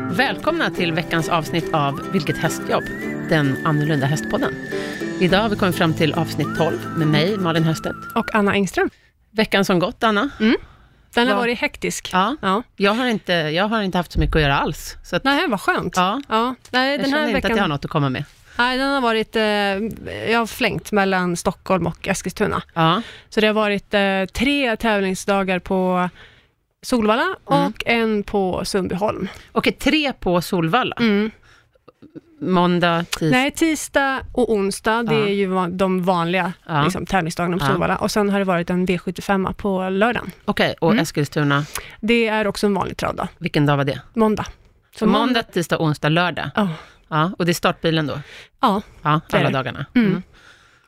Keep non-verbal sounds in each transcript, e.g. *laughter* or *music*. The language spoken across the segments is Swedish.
välkomna till veckans avsnitt av Vilket hästjobb? Den annorlunda hästpodden. Idag har vi kommit fram till avsnitt 12 med mig, Malin Höstedt. Och Anna Engström. Veckan som gått, Anna. Mm. Den har Ja. varit hektisk. Ja, Ja. Jag, har inte, jag har inte haft så mycket att göra alls. Så att, Nej, vad skönt. ja, Nej, jag den känner här inte att jag har veckan, något att komma med. nej, den har varit, eh, jag har flängt mellan Stockholm och Eskilstuna. Ja, Så det har varit eh, tre tävlingsdagar på Solvalla Mm. och en på Sundbyholm. Okej, tre på Solvalla. Måndag, tisdag. Mm. Nej, tisdag och onsdag, det Ja. är ju va- de vanliga Ja. liksom, tävlingsdagarna på Ja. Solvalla. Och sen har det varit en V75 på lördagen. Okej, och Mm. Eskilstuna, Det är också en vanlig travdag, vilken dag var det? måndag. Så måndag, tisdag, onsdag, lördag. Ja. Ja, och det är startbilen då? ja, Ja, Det är alla det. dagarna.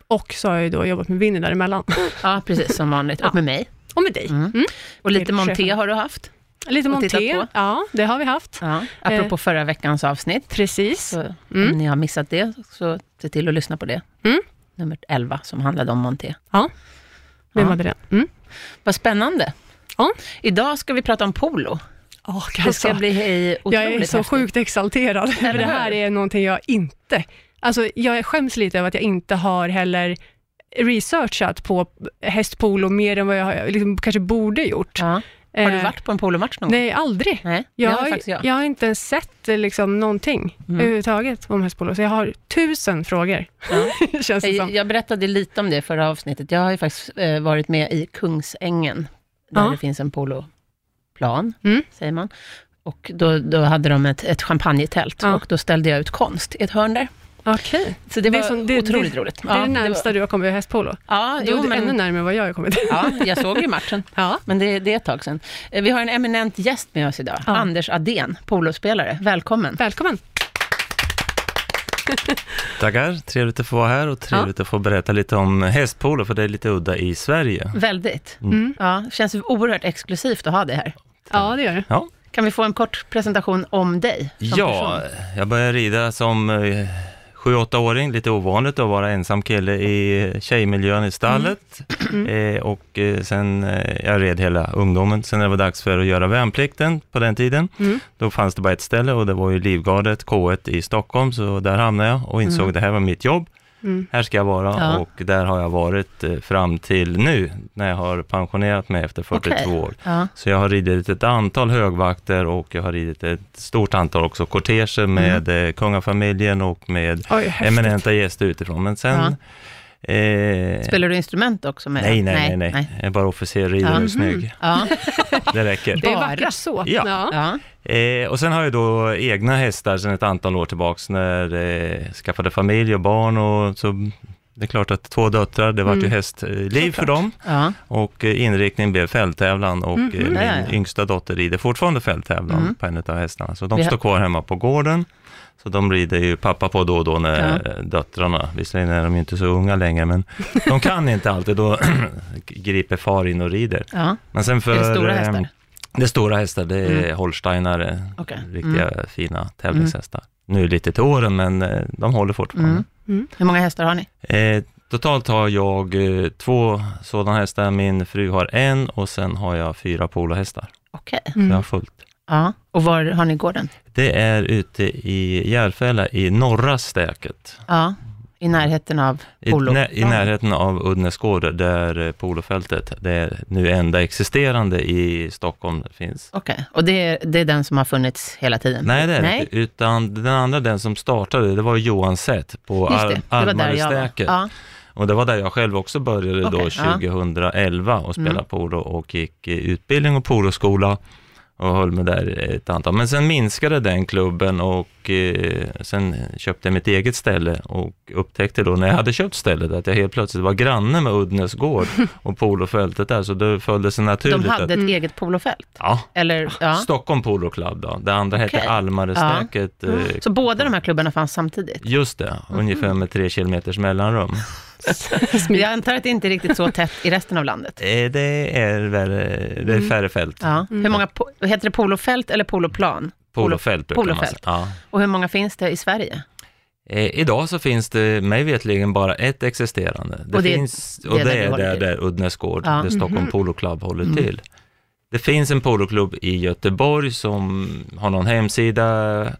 och så har jag ju då jobbat med Winnie däremellan. Ja, precis som vanligt. Och med mig. Och med dig. Mm. Och lite Till Monté chefen. har du haft. Lite Och tittat Monté, på. ja det har vi haft. Ja, apropå förra veckans avsnitt. Precis. Eh. Så Mm. Om ni har missat det, så se till att lyssna på det. Mm. Nummer 11, som handlade om Monté. Ja, med Ja. Madeleine. Mm. Vad spännande. Ja. Idag ska vi prata om polo. Oh, Det ska bli hej, otroligt jag är så häftigt. sjukt exalterad, för det här hur? är någonting jag inte... Alltså jag skäms lite över att jag inte har heller researchat på hästpolo mer än vad jag har- liksom, kanske borde gjort. Ja. Har du Eh, varit på en polomatch någon gång? Nej, aldrig. Nej, det Jag har har, faktiskt Mm. jag. jag har inte ens sett eh, liksom, någonting överhuvudtaget om hästpolo, så jag har tusen frågor, *laughs* känns det Jag, som. jag berättade lite om det i förra avsnittet. Jag har ju faktiskt eh, varit med i Kungsängen, där Ja. det finns en poloplan, Mm. säger man. Och då, då hade de ett, ett champagnetält Ja. och då ställde jag ut konst i ett hörn där. Okej. Så det var är som- det- otroligt det- roligt. Det är det närmsta var, du har kommit hästpolo. ja, Jo, jo, det är ännu men, närmare vad jag har kommit. ja, jag såg ju matchen. Ja. Men det, det är ett tag sedan. Eh, Vi har en eminent gäst med oss idag, Ja. Anders Adén, polospelare. Välkommen. Välkommen. Tackar, trevligt att få vara här och trevligt att få berätta lite om hästpolo, för det är lite udda i Sverige. Väldigt. Mm. Mm. Ja, känns oerhört exklusivt att ha dig här. Ja, det gör det. Ja, Kan vi få en kort presentation om dig som ja person? jag började rida som eh, 7-8-åring, lite ovanligt att vara ensam kille i tjejmiljön i stallet. *clears throat* Eh, och eh, sen, eh, jag red hela ungdomen, sen när det var dags för att göra värnplikten på den tiden, då fanns det bara ett ställe och det var ju Livgardet K1 i Stockholm, så där hamnade jag och insåg att det här var mitt jobb. Mm. Här ska jag vara Ja. och där har jag varit eh, fram till nu, när jag har pensionerat mig efter 42 Okej. år. Ja. Så jag har ridit ett antal högvakter och jag har ridit ett stort antal också Mm. korteger med eh, kungafamiljen och med Oj, häftigt. eminenta gäster utifrån. Men sen... Eh, Spelar du instrument också? Med nej, nej, nej, nej, Jag är bara officer, rider Ja. Mm-hmm. och är snygg. *laughs* Ja, Det räcker. Det är Bara. vackert så. Ja. ja. Eh, och sen har jag då egna hästar sedan ett antal år tillbaks när eh, jag skaffade familj och barn och så det är klart att två döttrar, det Mm. vart ju hästliv för dem ja. och eh, inriktningen blev fälttävlan och eh, min Mm, Ja, ja, ja. yngsta dotter rider fortfarande fälttävlan på en av hästarna. Så de Vi har- står kvar hemma på gården, så de rider ju pappa på då och då när Ja. eh, döttrarna, visserligen är de ju inte så unga längre, men *laughs* de kan inte alltid, då *clears throat* griper far in och rider. ja. Men sen för... Är det stora eh, hästar? Mm. Det är stora hästar, det är holsteinare, Okej. Mm. riktiga fina tävlingshästar. Nu lite till åren, men eh, de håller fortfarande. Mm. Hur många hästar har ni? Eh, totalt har jag eh, två sådana hästar, min fru har en och sen har jag fyra polohästar. Okej. Så *laughs* Mm. jag har fullt. Ja. Och var har ni gården? Det är ute i Järfälla i norra stäket, Ja, i närheten av i, Polo. nä, i närheten av Uddnesgård, där eh, polofältet, det är nu enda existerande i Stockholm, det finns. Okej, och det är, det är den som har funnits hela tiden? Nej, det är det Nej. inte. Utan den andra, den som startade, det var Johan Sett på Just det, Al- det var där jag var. Almarestäket. Ja. Och det var där jag själv också började Okej, ja. Mm. då 2011 och spela polo och gick eh, utbildning och poloskola och höll mig där ett antal. Men sen minskade den klubben och eh, sen köpte jag mitt eget ställe och upptäckte då när jag hade köpt stället att jag helt plötsligt var granne med *laughs* Uddnes gård och polofältet där, så då föll det sig naturligt De hade att Mm. ett eget polofält? Ja, Eller, ja. Stockholm Polo Club då, det andra Okej. Mm. hette Almarestäket. eh, Så båda de här klubbarna fanns samtidigt? Just det, ungefär Mm. med tre kilometers mellanrum. Jag antar att det inte är riktigt så tätt i resten av landet? Eh, Det är, väl, eh, det är färre fält. Mm. Ja. Hur många, po- heter det polofält eller poloplan? Polofält brukar man säga. Polofält. Ja. Och hur många finns det i Sverige? Eh, idag så finns det mig vetligen bara ett existerande. Det Och det är finns, det och det där du är håller där, till. där Uddnesgård, Ja. Mhm. Mm. där Stockholm Polo Club håller till. Det finns en poloklubb i Göteborg som har någon hemsida.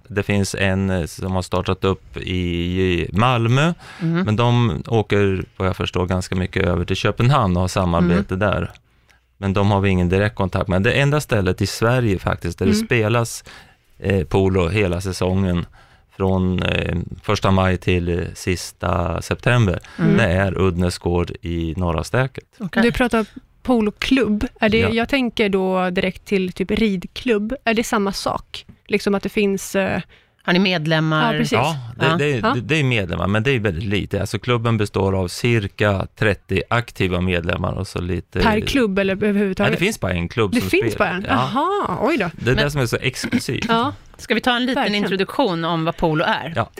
Det finns en eh, som har startat upp i Malmö, Mm. *laughs* men de åker, vad jag förstår, ganska mycket över till Köpenhamn och har samarbete Mm. där. Men de har vi ingen direktkontakt med. Det enda stället i Sverige faktiskt, där det Mm. spelas eh, polo hela säsongen, från eh, första maj till eh, sista september, Mm. det är Uddnäs gård i Norra Stäket. Okej. Du pratar poloklubb. Är det, Ja. Jag tänker då direkt till typ ridklubb. Är det samma sak? Liksom att det finns... eh, Har ni medlemmar? Ja, precis. Ja, det, Ja. Det, Ja. Det, det är medlemmar, men det är väldigt lite. Alltså klubben består av cirka 30 aktiva medlemmar och så lite... Per klubb eller Nej, det överhuvudtaget? finns bara en klubb det som finns spelar. bara en? Ja, Jaha, oj då. det är Men- det som är så exklusivt. Ja. Ska vi ta en liten Verkligen. introduktion om vad polo är? Ja.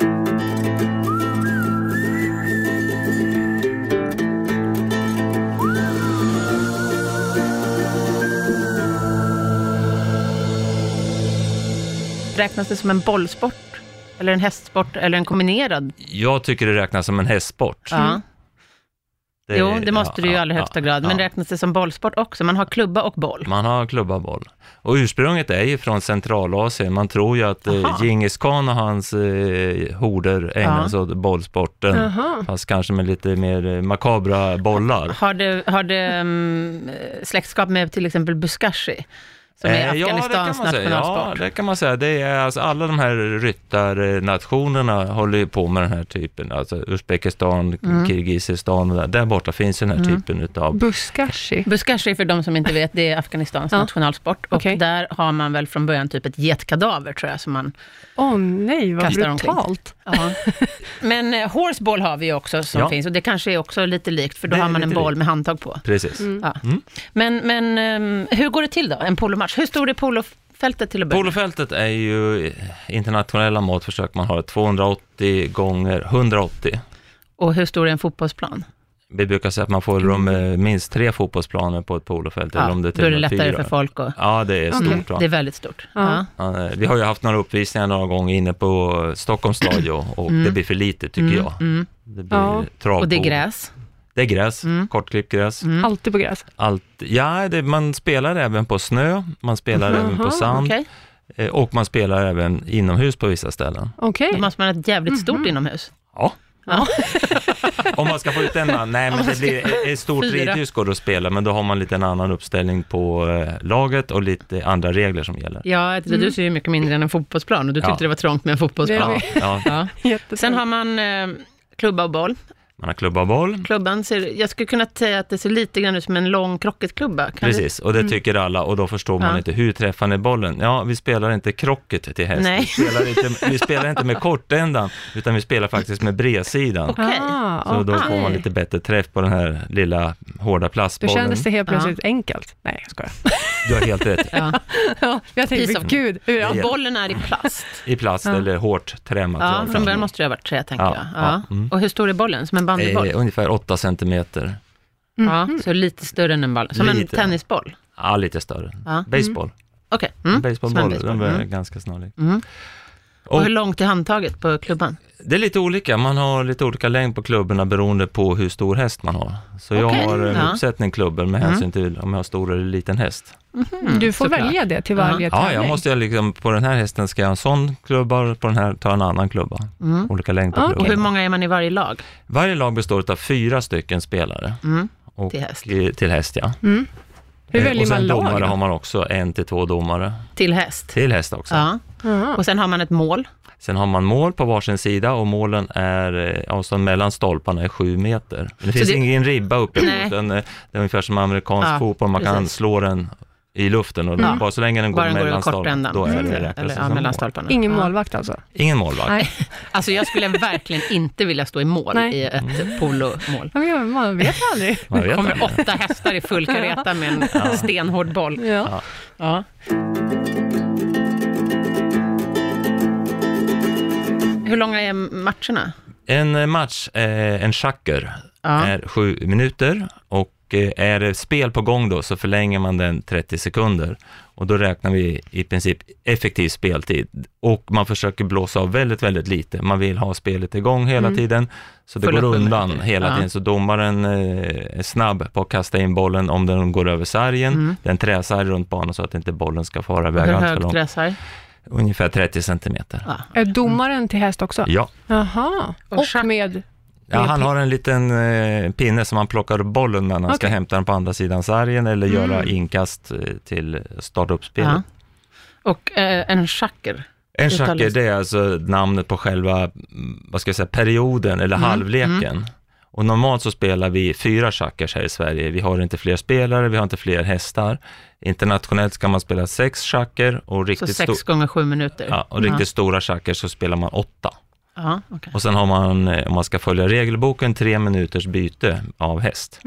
Räknas det som en bollsport? Eller en hästsport? Eller en Mm. kombinerad? Jag tycker det räknas som en hästsport. Ja. jo, det måste ja, det ju i ja, allra högsta ja, grad. Men ja. räknas det som bollsport också? Man har klubba och boll. Man har klubba boll. Och ursprunget är ju från Centralasien. Man tror ju att eh, Aha. Djingis khan och hans eh, horder ägnade Ja. sig åt bollsporten. Jaha. Fast kanske med lite mer eh, makabra bollar. Har det, har det mm, släktskap med till exempel buskashi? Som är Eh, ja, det kan man Afghanistans säga. Ja, nationalsport. det kan man säga. Det är, alltså, alla de här ryttarnationerna håller ju på med den här typen. Alltså Uzbekistan, Mm. Kirgizistan, och där, där borta finns ju den här typen utav... Buskashi. Buskashi, för de som inte vet, det är Afghanistans *laughs* Ja. nationalsport. Och Okej. där har man väl från början typ ett getkadaver, tror jag, som man Åh nej, vad Kastar omkring. brutalt. *laughs* Men eh, horseball har vi ju också som Ja. finns och det kanske är också lite likt för då Det är har man en lite boll likt. med handtag på. Precis. Ja. Men, men ehm, hur går det till då, en polomatch? Hur stor är polofältet till att börja med? Polofältet är ju internationella mått försök man har 280 gånger 180. Och hur stor är en fotbollsplan? Vi brukar säga att man får rum med minst tre fotbollsplaner på ett polofält. eller om det till Mm. då är det och med lättare fyra. för folk att... Ja, det är stort. Mm. va? Det är väldigt stort. Ja. Ja. Ja, eh, Vi har ju haft några uppvisningar några gånger inne på Stockholms stadion och det blir för lite tycker jag. Det blir Ja. travbord. Mm. Och det är gräs. Mm. Det är gräs, kortklippt gräs. Alltid på gräs. Allt, ja, det, man spelar även på snö, man spelar även på Jaha, sand Mm. Okej, eh, och man spelar även inomhus på vissa ställen. Okej. då måste man ha ett jävligt stort inomhus. Ja. Ja. *laughs* Om man ska få ut en annan, nej men det blir ett- ett stort Fyra. ridhus går det att spela, men då har man lite en annan uppställning på eh, laget och lite andra regler som gäller. Ja, ett ridhus är ju mycket mindre än en fotbollsplan och du tyckte Ja. det var trångt med en fotbollsplan. Ja, ja. Ja. Jättetråkigt. Sen har man eh, klubba och boll. Man har klubba och boll, Klubban ser, jag skulle kunna säga att det ser lite grann ut som en lång krocketklubba. Kan du- Mm. Precis, och det tycker alla och då förstår man Ja. inte hur träffar ni bollen? Ja, vi spelar inte krocket till häst. Nej. Vi spelar inte, vi spelar inte med kortändan, utan vi spelar faktiskt med bredsidan. Okej. Ah, Så då okej. får man lite bättre träff på den här lilla hårda Då plastbollen. kändes det helt plötsligt enkelt. Nej, jag skojar. Du har helt rätt. Ja. Ja, *laughs* jag tänkte, Piece of- men gud, hur Ja. Bollen är i plast. I plast eller hårt Ja, trämaterial. från början måste det ha varit trä, tänker Ja, jag. Ja. ja, Mm. Och hur stor är bollen? Som en bandyboll? eh, ungefär 8 centimeter. Ja, så lite större än en boll. Som en Lite. tennisboll? Ja, lite större. Ja. Baseball. Okej. Mm. Som en Baseballboll, baseball. den är Mm. ganska snarlik. Och hur långt är handtaget på klubban? Det är lite olika, man har lite olika längd på klubborna beroende på hur stor häst man har. Så jag Okej, har en ja. Mm. uppsättning klubbor med hänsyn till om jag har stor eller liten häst. Mm. Du får såklart. välja det till varje Ja, jag tävling. måste jag liksom, på den här hästen ska jag ha en sån klubba, och på den här tar jag en annan klubba. Olika längd på Ja, Mm. Och hur klubban. många är man i varje lag? Varje lag består av fyra stycken spelare. Och, Mm. till häst. Mm. eh, Till häst, ja. Hur Eh, väljer och sen man lag domare då? har man också en till två domare. Till häst? Till häst också. Ja. Och sen har man ett mål. Sen har man mål på varsin sida och målen är, eh, avstånd mellan stolparna är sju meter. Men det finns det- ingen ribba uppe Nej. mot den, eh, det är ungefär som amerikansk Ja, fotboll, man kan precis. slå den i luften och bara så länge den går Bara den går över mellan kortändan. stolparna, då är Mm. det räknas Eller, som ja, mellan mål. stolparna. Ingen Ja. målvakt alltså? Ingen målvakt. Nej. Alltså jag skulle verkligen inte vilja stå i mål Nej. i ett polomål. Ja, men Man vet aldrig. Man Det Mm. vet kommer aldrig. åtta hästar i full kareta med *laughs* en stenhård boll. *laughs* Ja. Ja. Hur långa är matcherna? En eh, match, eh, en schacker, Ja. är sju minuter och eh, är det spel på gång då så förlänger man den 30 sekunder. Och då räknar vi i princip effektiv speltid. Och man försöker blåsa av väldigt, väldigt lite. Man vill ha spelet igång hela Mm. tiden. Så det Full går upp med undan det. hela Ja. tiden. Så domaren eh, är snabb på att kasta in bollen om den går över sargen. Mm. Den träsar runt banan så att inte bollen ska fara iväg Hur allt för högt långt. gräsar? Ungefär 30 centimeter. Ja. Är domaren till häst också? Ja. Jaha, Och schack. och med... Ja, han har en liten eh, pinne som han plockar upp bollen med när han ska Okej. hämta den på andra sidan sargen eller Mm. göra inkast eh, till startuppspelet. Ja. Och eh, en schacker. En Uttalas. schacker, det är alltså namnet på själva, mm, vad ska jag säga, perioden eller Mm, halvleken. Och normalt så spelar vi fyra schackers här i Sverige. Vi har inte fler spelare, vi har inte fler hästar. Internationellt kan man spela sex schacker och Så riktigt, sex sto- gånger sju minuter. ja, och riktigt stora schacker så spelar man åtta. Ja, okej. Och sen har man, eh, om man ska följa regelboken, tre minuters byte av häst.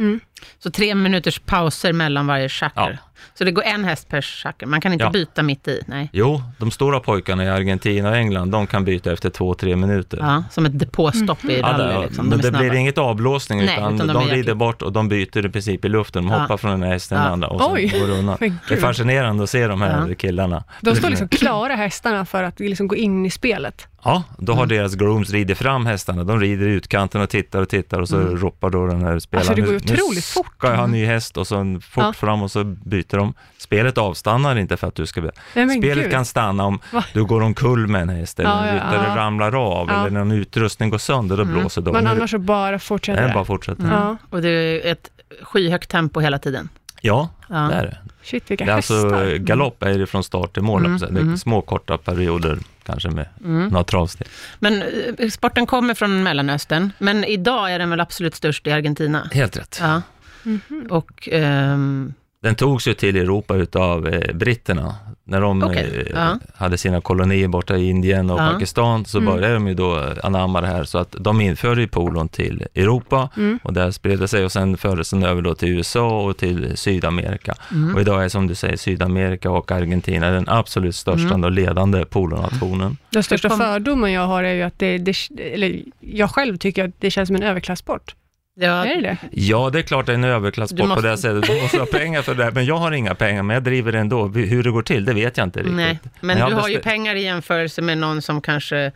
Så tre minuters pauser mellan varje schacker. Så det går en häst per schacker. Man kan inte Ja. byta mitt i. Nej. Jo, de stora pojkarna i Argentina och England, de kan byta efter två, tre minuter. Ja, som ett depåstopp i Mm. Ja, rally. det, Liksom. men De är det blir snabba. inget avblåsning, Nej, utan, utan de de, är jäkligt- rider bort och de byter i princip i luften. De Ja. hoppar från den ena hästen till den Ja. andra och sen Oj. går det *laughs* undan. Men Det är gud. fascinerande att se de här Ja. killarna. De står liksom klara hästarna för att liksom gå in i spelet. Ja, då Mm. har deras grooms ridit fram hästarna. De rider i utkanten och tittar och tittar och så Mm. ropar då den här spelaren. Alltså, det går "Nu- otroligt Nu fort." ska jag ha en ny häst och sen fort Ja. fram och så byter de. Spelet avstannar inte för att du ska... Nej, men Spelet gud. kan stanna om Va? du går omkull med en häst eller Ja, en ja, ryttare ja. ramlar av Ja. Mm. eller någon utrustning går sönder, då blåser de. Men Nu- annars så bara Nej, fortsätter bara det. fortsätter. Ja. Och det är ett skyhögt tempo hela tiden. Ja, Ja. det är det. Shit, vilka Det är alltså, hästar. galopp är det från start till mål, Mm, så det är mm. små korta perioder kanske Mm. med några travsteg. Men eh, sporten kommer från Mellanöstern, men idag är den väl absolut störst i Argentina? Helt rätt. Ja. Mhm. Och ehm, Den togs ju till Europa utav eh, britterna. När de Okej, eh, ja. hade sina kolonier borta i Indien och Ja. Mm. Pakistan så började de ju då anamma det här så att de införde ju polon till Europa Mm. och där spred det sig och sen fördes den över då till USA och till Sydamerika. Mm. Och idag är som du säger Sydamerika och Argentina den absolut största Mm. och ledande polonationen. Den största Hur kom- fördomen jag har är ju att det, det eller jag själv tycker att det känns som en överklassport. ja, Är det det? Ja, det är klart det är en överklassport Du måste- på det här sättet. Du måste ha pengar för det här, men jag har inga pengar, men jag driver det ändå. Hur det går till, det vet jag inte riktigt. nej. Men jag du har ju bestä- pengar i jämförelse med någon som kanske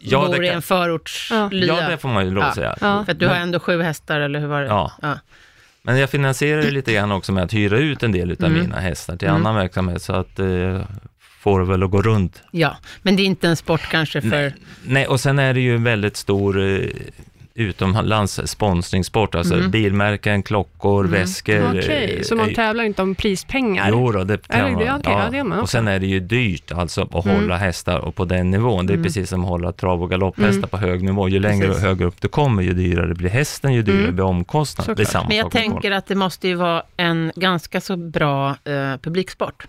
Ja, bor det i kan- en förortslya. Ja, det får man ju lov att Ja. säga. Ja. För att du har ändå sju hästar, eller hur var det? Ja. Men jag finansierar ju lite grann också med att hyra ut en del utav Mm. mina hästar till annan verksamhet, så att eh, får det väl att gå runt. Ja, men det är inte en sport kanske för... Nej, och sen är det ju en väldigt stor eh, utomlands sponsringssport, alltså bilmärken, klockor, väskor. Mm. Okej, eh, så är man ju- tävlar inte om prispengar? Jo då, det Är kan det man. det? Okej, ja, det gör man och också. Mm. sen är det ju dyrt alltså att hålla hästar och på den nivån. Det är precis som att hålla trav och galopphästar Mm. på hög nivå. Ju längre Precis. och högre upp du kommer, ju dyrare blir hästen, ju dyrare blir Mm. omkostnaden. Såklart. Det är samma Men jag sak med tänker att det måste ju vara en ganska så bra eh, publiksport.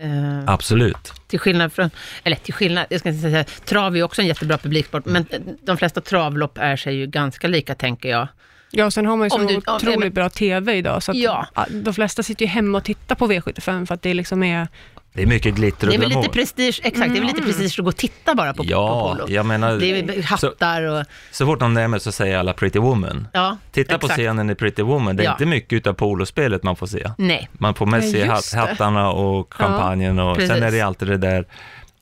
Eh, barn. Absolut. Till skillnad från, eller till skillnad, jag ska inte säga, trav är ju också en jättebra publiksport, men eh, de flesta travlopp är sig ju ganska lika, tänker jag. Ja, sen har man ju så Om du- om- otroligt men- bra TV idag, så att Ja. ja, de flesta sitter ju hemma och tittar på V75 för att det liksom är... Det är mycket glitter och Det är väl glamour. lite prestige, exakt, det är väl lite prestige att gå och titta bara på, Mm. Ja, på polo. jag menar, Det är ju så, hattar och, så fort någon nämner så säger alla Pretty Woman. ja. Titta på exakt. scenen i Pretty Woman, det är Ja. inte mycket utav polospelet man får se. Nej, Man får mest Ja, se just hat- hattarna och champagnen och precis. sen är det alltid det där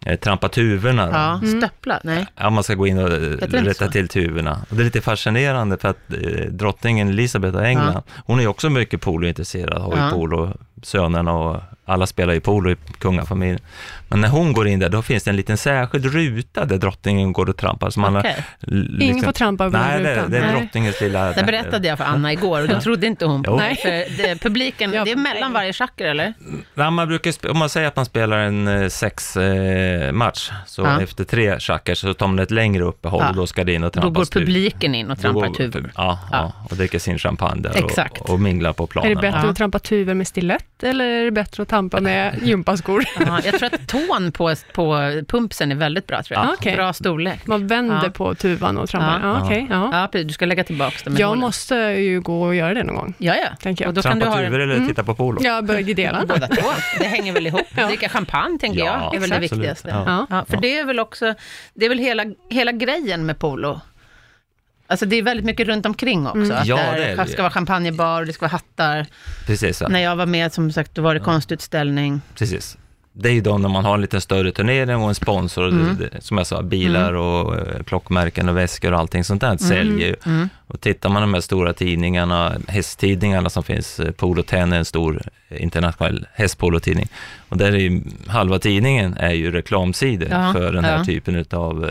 eh, trampa tuvorna. då. ja, stöppla, nej. Ja, man ska gå in och eh, det inte rätta så? till tuvorna. Och det är lite fascinerande för att eh, drottningen Elisabeth av England, hon är ju också mycket polointresserad, har ju Ja. polo, sönerna och alla spelar ju polo i kungafamiljen. Men när hon går in där, då finns det en liten särskild ruta där drottningen går och trampar. Så man har Okej. l- Ingen får trampa över den Liksom- Nej, det, rutan. det är Nej. drottningens lilla... Det berättade jag för Anna igår och då trodde inte hon på Jo. mig. För det, publiken, Ja. det är mellan varje schacker eller? Nej, man brukar, sp- om man säger att man spelar en eh, sex eh, match, så Ja. efter tre schackers så tar man ett längre uppehåll Ja. och då ska det in och Då går trampas tur. publiken in och Då trampar typ. går- tuvor. Ja, ja, och dricker sin champagne där Exakt. och, och minglar på planen. Är det bättre Ja. att trampa tuvor med stilett eller är det bättre att tampa *laughs* med gympaskor? Ja, jag tror att tån på, på pumpsen är väldigt bra, tror jag. Ja, okej. Bra storlek. Man vänder Ja. på tuvan och trampar. Ja. Ja. okej, ja. Ja, precis. du ska lägga tillbaka den med Jag hålen. måste ju gå och göra det någon gång. Ja, ja. Tänker jag. Och då kan Trampa du ha Mm. tuvor den- eller titta på polo? Jag börjar dela. båda två. Det hänger väl ihop. Dricka champagne, tänker Ja, jag, är väl det absolut. viktigaste. *laughs* Ja. Ja, för det är väl också, det är väl hela, hela grejen med polo. Alltså det är väldigt mycket runt omkring också. Mm. Att Ja, det det är det ju. ska vara champagnebar och det ska vara hattar. Precis, va? När jag var med, som sagt, då var det konstutställning. precis. Det är ju då när man har en lite större turnering och en sponsor, och Mm. det- det- som jag sa, bilar och eh, klockmärken och väskor och allting sånt där Mm. säljer ju. Och tittar man de här stora tidningarna, hästtidningarna som finns, eh, Polo 10 är en stor eh, internationell hästpolotidning, och där är ju, halva tidningen är ju reklamsidor Ja, för den här ja. typen av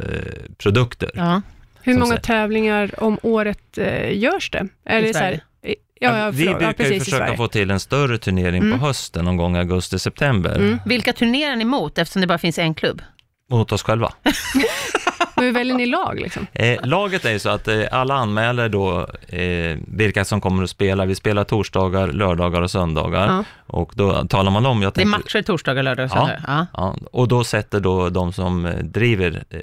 produkter. Ja. Hur Som många säger- tävlingar om året eh, görs det? Eller I så här, i- ja, ja, vi förlåt, ja, brukar ju precis, i försöka Sverige. Mm. få till en större turnering på hösten, någon gång i augusti-september, Vilka turnerar ni mot, eftersom det bara finns en klubb? mot oss själva. Men hur väljer ni lag liksom? Eh, laget är ju så att eh, alla anmäler då eh, vilka som kommer att spela. Vi spelar torsdagar, lördagar och söndagar. Ja. Och då talar man om, jag Det är tänkte- matcher torsdagar, lördagar och Ja. söndagar. Ja. Ja, och då sätter då de som eh, driver eh,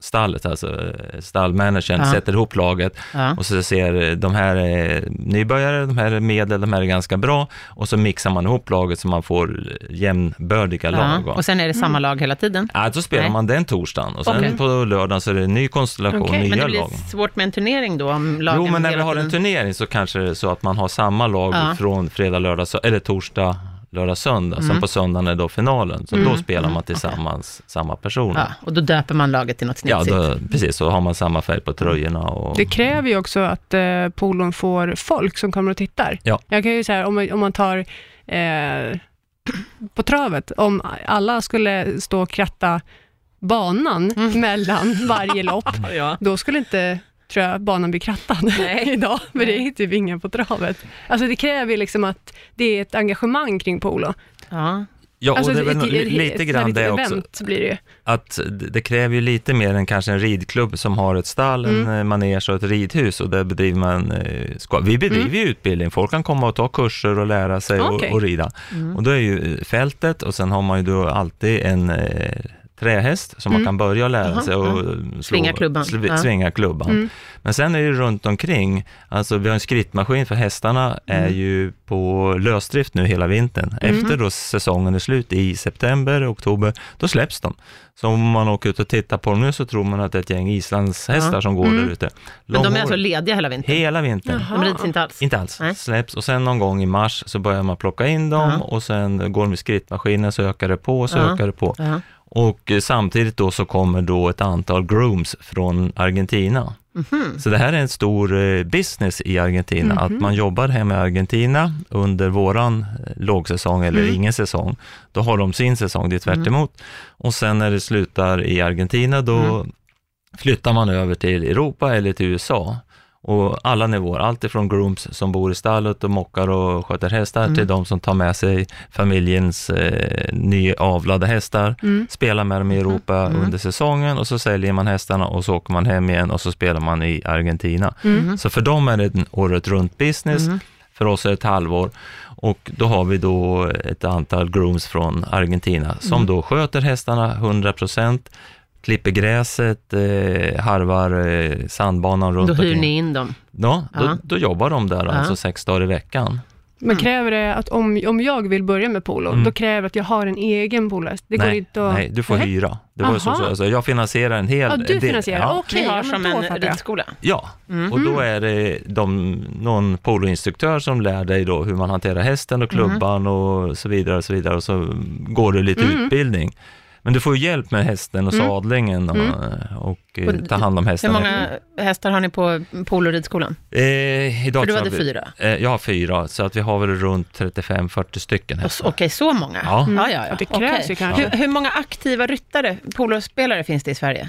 stallet, alltså eh, stallmanagern, Ja. sätter ihop laget Ja. och så ser eh, de här är nybörjare, de här är medel, de här är ganska bra och så mixar man ihop laget så man får eh, jämnbördiga lag. Ja. Och sen är det Mm. samma lag hela tiden. Ja, då spelar Nej. man den torsdagen och sen Okej. på lördagen så är det en ny konstellation, Okej, men Men nya det blir lag. svårt med en turnering då, om lagen Jo, men när vi hela har en tiden- turnering så kanske det är så att man har samma lag Ja. från fredag, lördag, sö- eller torsdag, lördag, söndag. Sen på söndagen är då finalen, så då spelar man tillsammans samma personer. Ja, och då döper man laget till något Ja, snitsigt. då, precis, så har man samma färg på tröjorna och... Det kräver ju också att eh, polon får folk som kommer och tittar. Ja. Jag kan ju säga om, man- om man tar eh, på travet, om alla skulle stå och kratta banan Mm. *laughs* mellan varje lopp, Ja. då skulle inte tror jag banan blir krattad Nej. *laughs* idag, för det är typ ingen på travet. Alltså det kräver ju liksom att det är ett engagemang kring polo. Ja. Ja, och Alltså det är väl ett- li- ett- lite ett grann litet det också. event blir det ju. att det det kräver ju lite mer än kanske en ridklubb som har ett stall, Mm. en eh, manege och ett ridhus och där bedriver man, eh, ska, vi bedriver Mm. ju utbildning, folk kan komma och ta kurser och lära sig Okej. och, och rida. Mm. Och då är ju eh, fältet och sen har man ju då alltid en eh, trähäst som man kan börja lära Jaha, sig och Mm. ja. slå, Svinga klubban. sli- Ja. Mm. svinga klubban. Men sen är det ju runt omkring, alltså vi har en skrittmaskin för hästarna är Mm. ju på lösdrift nu hela vintern. Efter då säsongen är slut i september, oktober, då släpps de. Så om man åker ut och tittar på dem nu så tror man att det är ett gäng islandshästar Ja. Mm. som går där ute. Men de är Långhårig. alltså lediga hela vintern? Hela vintern. De rids Mm. inte alls? Inte alls, Nej. släpps och sen någon gång i mars så börjar man plocka in dem Ja. och sen går de i skrittmaskinen så ökar det på och så Ja. ökar det på. Ja. Och eh, samtidigt då så kommer då ett antal grooms från Argentina. Mhm. Mm. Så det här är en stor eh, business i Argentina, att man jobbar hemma i Argentina under våran eh, lågsäsong eller ingen säsong. Då har de sin säsong, det är tvärt emot. Och sen när det slutar i Argentina, då flyttar man över till Europa eller till USA. Och alla nivåer, allt ifrån grooms som bor i stallet och mockar och sköter hästar, till de som tar med sig familjens eh, nyavlade hästar, Mm. spelar med dem i Mhm. Europa under säsongen och så säljer man hästarna och så åker man hem igen och så spelar man i Argentina. Mm. Mhm. Mhm. Så för dem är det en året runt business, för oss är det ett halvår. Och då har vi då ett antal grooms från Argentina som Mhm. då sköter hästarna 100%, klipper gräset, eh, harvar eh, sandbanan runt Då hyr omkring. ni in dem? Ja, då, Ja. då jobbar de där alltså sex dagar i veckan. Men Mm. kräver det att om, om jag vill börja med polo, då kräver det att jag har en egen polohäst? Det går nej, inte att... nej, du får Nähä. hyra. Det var ju så, Aha. så, alltså, jag finansierar en hel Ja, du del- finansierar. Ja, Okej, Ni har ja, men som då en fattar jag. ridskola? ja. Mm. och då är det de, någon poloinstruktör som lär dig då hur man hanterar hästen och Mm. klubban och så vidare och så vidare och så går du lite Mm. utbildning. Men du får ju hjälp med hästen och sadlingen och, och, eh, Mm. Och ta hand om Hur hästen. många hästar har ni på poloridskolan? Eh, idag För du så har hade vi, fyra. Eh, jag har fyra, så att vi har väl runt 35-40 stycken Och hästar. så- Okej, så många? Ja. Mm. ja, ja, ja. Mm. Det krävs Okej. ju kanske. Hur, hur många aktiva ryttare, polospelare finns det i Sverige?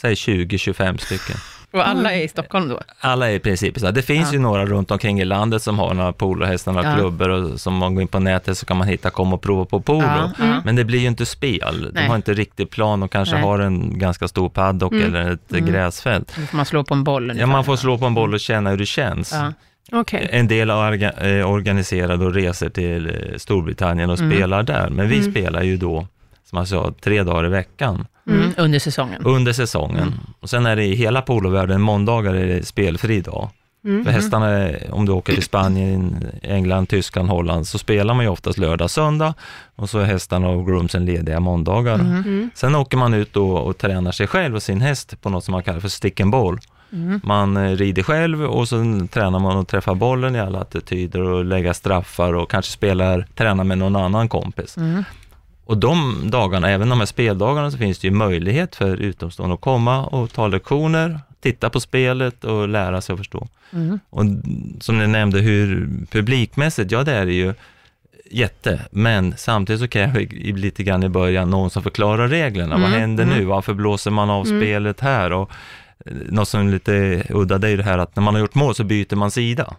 Säg 20-25 stycken. Och alla Mm. är i Stockholm då? Alla är i princip så. här. Det finns Ja. ju några runt omkring i landet som har några polohästar, några Ja. klubbor och som man går in på nätet så kan man hitta, kom och prova på polo. Ja, ja. Men det blir ju inte spel. De Nej. har inte riktig plan och kanske Nej. har en ganska stor paddock eller ett eh, gräsfält. Då får man slå på en boll Ja, ungefär. Mm. man får slå på en boll och känna hur det känns. Ja. Okej. En del har orga- eh, organiserade och reser till eh, Storbritannien och Mm. spelar där. Men vi spelar ju då, som jag sa, tre dagar i veckan Mm, under säsongen. Mm. under säsongen. Och sen är det i hela polovärlden, måndagar är det spelfri dag. Mm. För hästarna, är- om du åker till Spanien, England, Tyskland, Holland, så spelar man ju oftast lördag, söndag och så är hästarna och groomsen lediga Mm. måndagar. Sen åker man ut då och tränar sig själv och sin häst på något som man kallar för stick and ball. Mm. Man eh, rider själv och sen tränar man att träffa bollen i alla attityder och lägga straffar och kanske spelar, tränar med någon annan kompis. Mm. Och de dagarna, även de här speldagarna, så finns det ju möjlighet för utomstående att komma och ta lektioner, titta på spelet och lära sig att förstå. Mm. Och som ni nämnde, hur publikmässigt, ja det är det ju jätte, men samtidigt så kräver vi lite grann i början någon som förklarar reglerna. Mm, Vad händer nu? Varför blåser man av Mm. spelet här? Och eh, något som är lite udda, det är ju det här att när man har gjort mål så byter man sida.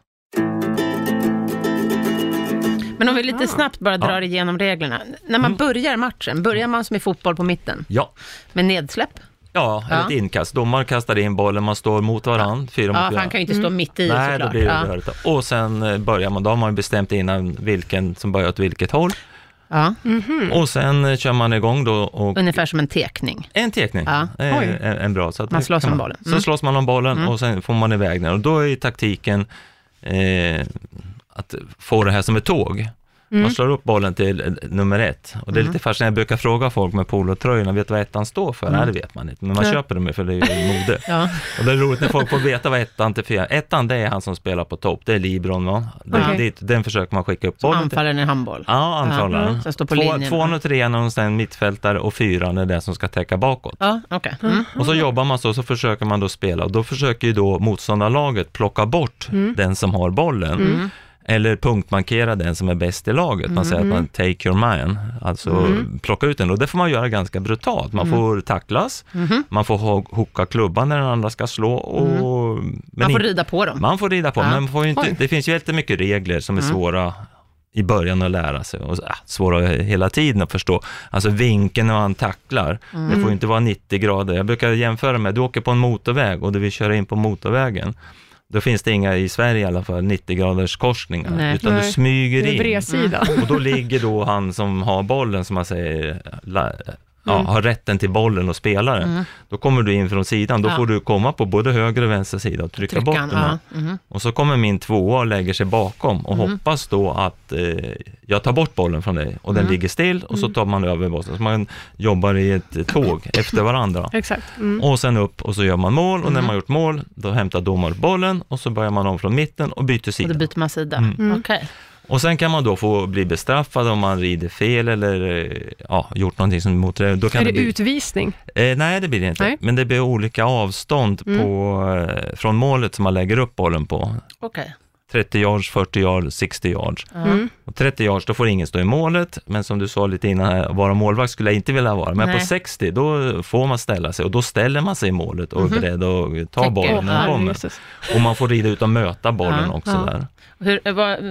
Men om vi lite Ah. snabbt bara Ja. drar igenom reglerna. N- När man Mm. börjar matchen, börjar man som i fotboll på mitten Ja, med nedsläpp? ja, Ja. eller ett inkast. Domaren kastar in bollen, man står mot varandra, fyra Ja, mot för han fyra. kan ju inte stå mitt i Nej, såklart. då blir det ja. rörigt. Och sen eh, börjar man, då har man ju bestämt innan vilken som börjar åt vilket håll. Ja. Mm. Och sen eh, kör man igång då och Ungefär som en tekning. En tekning, Ja. Eh, Oj. en, en bra. Så att Man det slåss kan om bollen. Så Mm. slåss man om bollen Mm. och sen får man iväg den. Och då är ju taktiken eh, att få det här som ett tåg. Mm. Man slår upp bollen till eh, nummer ett. Och det är Mm. lite fascinerande, jag brukar fråga folk med polotröjorna, vet du vad ettan står för? Mm. Nej, det vet man inte, men man Nej. köper dem ju för det är *laughs* ju mode. Ja. Och det är roligt när folk får veta vad ettan till fyra. Ettan, det är han som spelar på topp, det är Libron, va? Det, Okej. dit, den försöker man skicka upp bollen till. Anfallaren i handboll. Ja, anfallaren. Ja, mm. som står på Två, linjen. tvåan och trean och sen mittfältare och fyran är den som ska täcka bakåt. Ja, okej. Mm. Och så jobbar man så, så försöker man då spela och då försöker ju då motståndarlaget plocka bort Mm. den som har bollen. Eller punktmarkera den som är bäst i laget. Man säger att Mm. man take your man, alltså plocka ut den. Och det får man göra ganska brutalt. Mm. Man får tacklas, Mm-hmm. man får ho- hocka klubban när den andra ska slå. Och, men Mm. Man får in- rida på dem. man får rida på, Ja. men man får ju inte, Oj. det finns ju jättemycket regler som är svåra i början att lära sig och äh, svåra hela tiden att förstå. Alltså vinkeln när man tacklar, det får ju inte vara 90 grader. Jag brukar jämföra med, du åker på en motorväg och du vill köra in på motorvägen. Då finns det inga, i Sverige i alla fall, 90 graders korsningar, Nej. utan du Nej. smyger Det är in. bredsida. Och då ligger då han som har bollen, som man säger, la, ja, Mm. har rätten till bollen och spelaren. Då kommer du in från sidan, då Ja. får du komma på både höger och vänster sida och trycka, bort Tryckan, den här. ja. Mhm. Och så kommer min tvåa och lägger sig bakom och Mm. hoppas då att eh, jag tar bort bollen från dig och den Mm. ligger still och så tar man över bollen. Så man jobbar i *laughs* ett tåg efter varandra. *laughs* Exakt. Mm. Och sen upp och så gör man mål och när man gjort mål då hämtar domaren bollen och så börjar man om från mitten och byter Och då sida. byter man sida. Mm. Okej. Och sen kan man då få bli bestraffad om man rider fel eller eh, ja, gjort någonting som är mot det. Då kan Är det bli... utvisning? Eh, nej, det blir det inte. Nej. Mm. Men det blir olika avstånd på, eh, från målet som man lägger upp bollen på. Okej. 30 yards, 40 yards, 60 yards. Ja. Mm. Och 30 yards, då får ingen stå i målet, men som du sa lite innan, här, vara målvakt skulle jag inte vilja vara, men Nej. på 60 då får man ställa sig och då ställer man sig i målet och är beredd att ta Täcker. bollen när den Mhm. Ja, kommer. Jesus. Och man får rida ut och möta bollen Ja, också ja. där. Hur, eh, vad,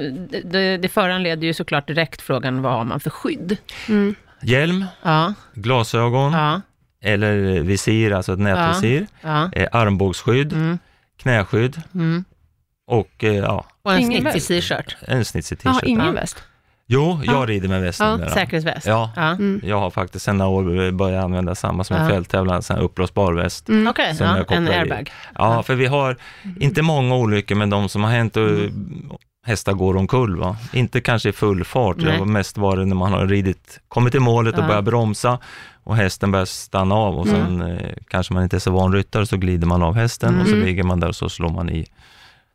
det, det föranleder ju såklart direkt frågan, vad har man för skydd? Mm. Hjälm, Ja, glasögon ja, eller visir, alltså ett nätvisir, ja. eh, armbågsskydd, Mm, knäskydd mm. och eh, ja, Och en Ingen snitsig t-shirt. en snitsig t-shirt. Jaha, ingen Ja. väst? Jo, jag Ja. rider med väst Ja, numera. Säkerhetsväst. Ja. ja. Mm. Jag har faktiskt sedan några år börjat använda samma som en Ja. fälttävlan, en sån här uppblåsbar väst. Mm. Okej, Som jag ja, en kopplar i. airbag. Ja, för vi har Mm. inte många olyckor, men de som har hänt och hästar går omkull. Va? Inte kanske i full fart, det Nej. har mest varit när man har ridit, kommit till målet och Ja. börjar bromsa och hästen börjar stanna av och sen eh, kanske man inte är så van ryttare så glider man av hästen och så Mm. ligger man där och så slår man i.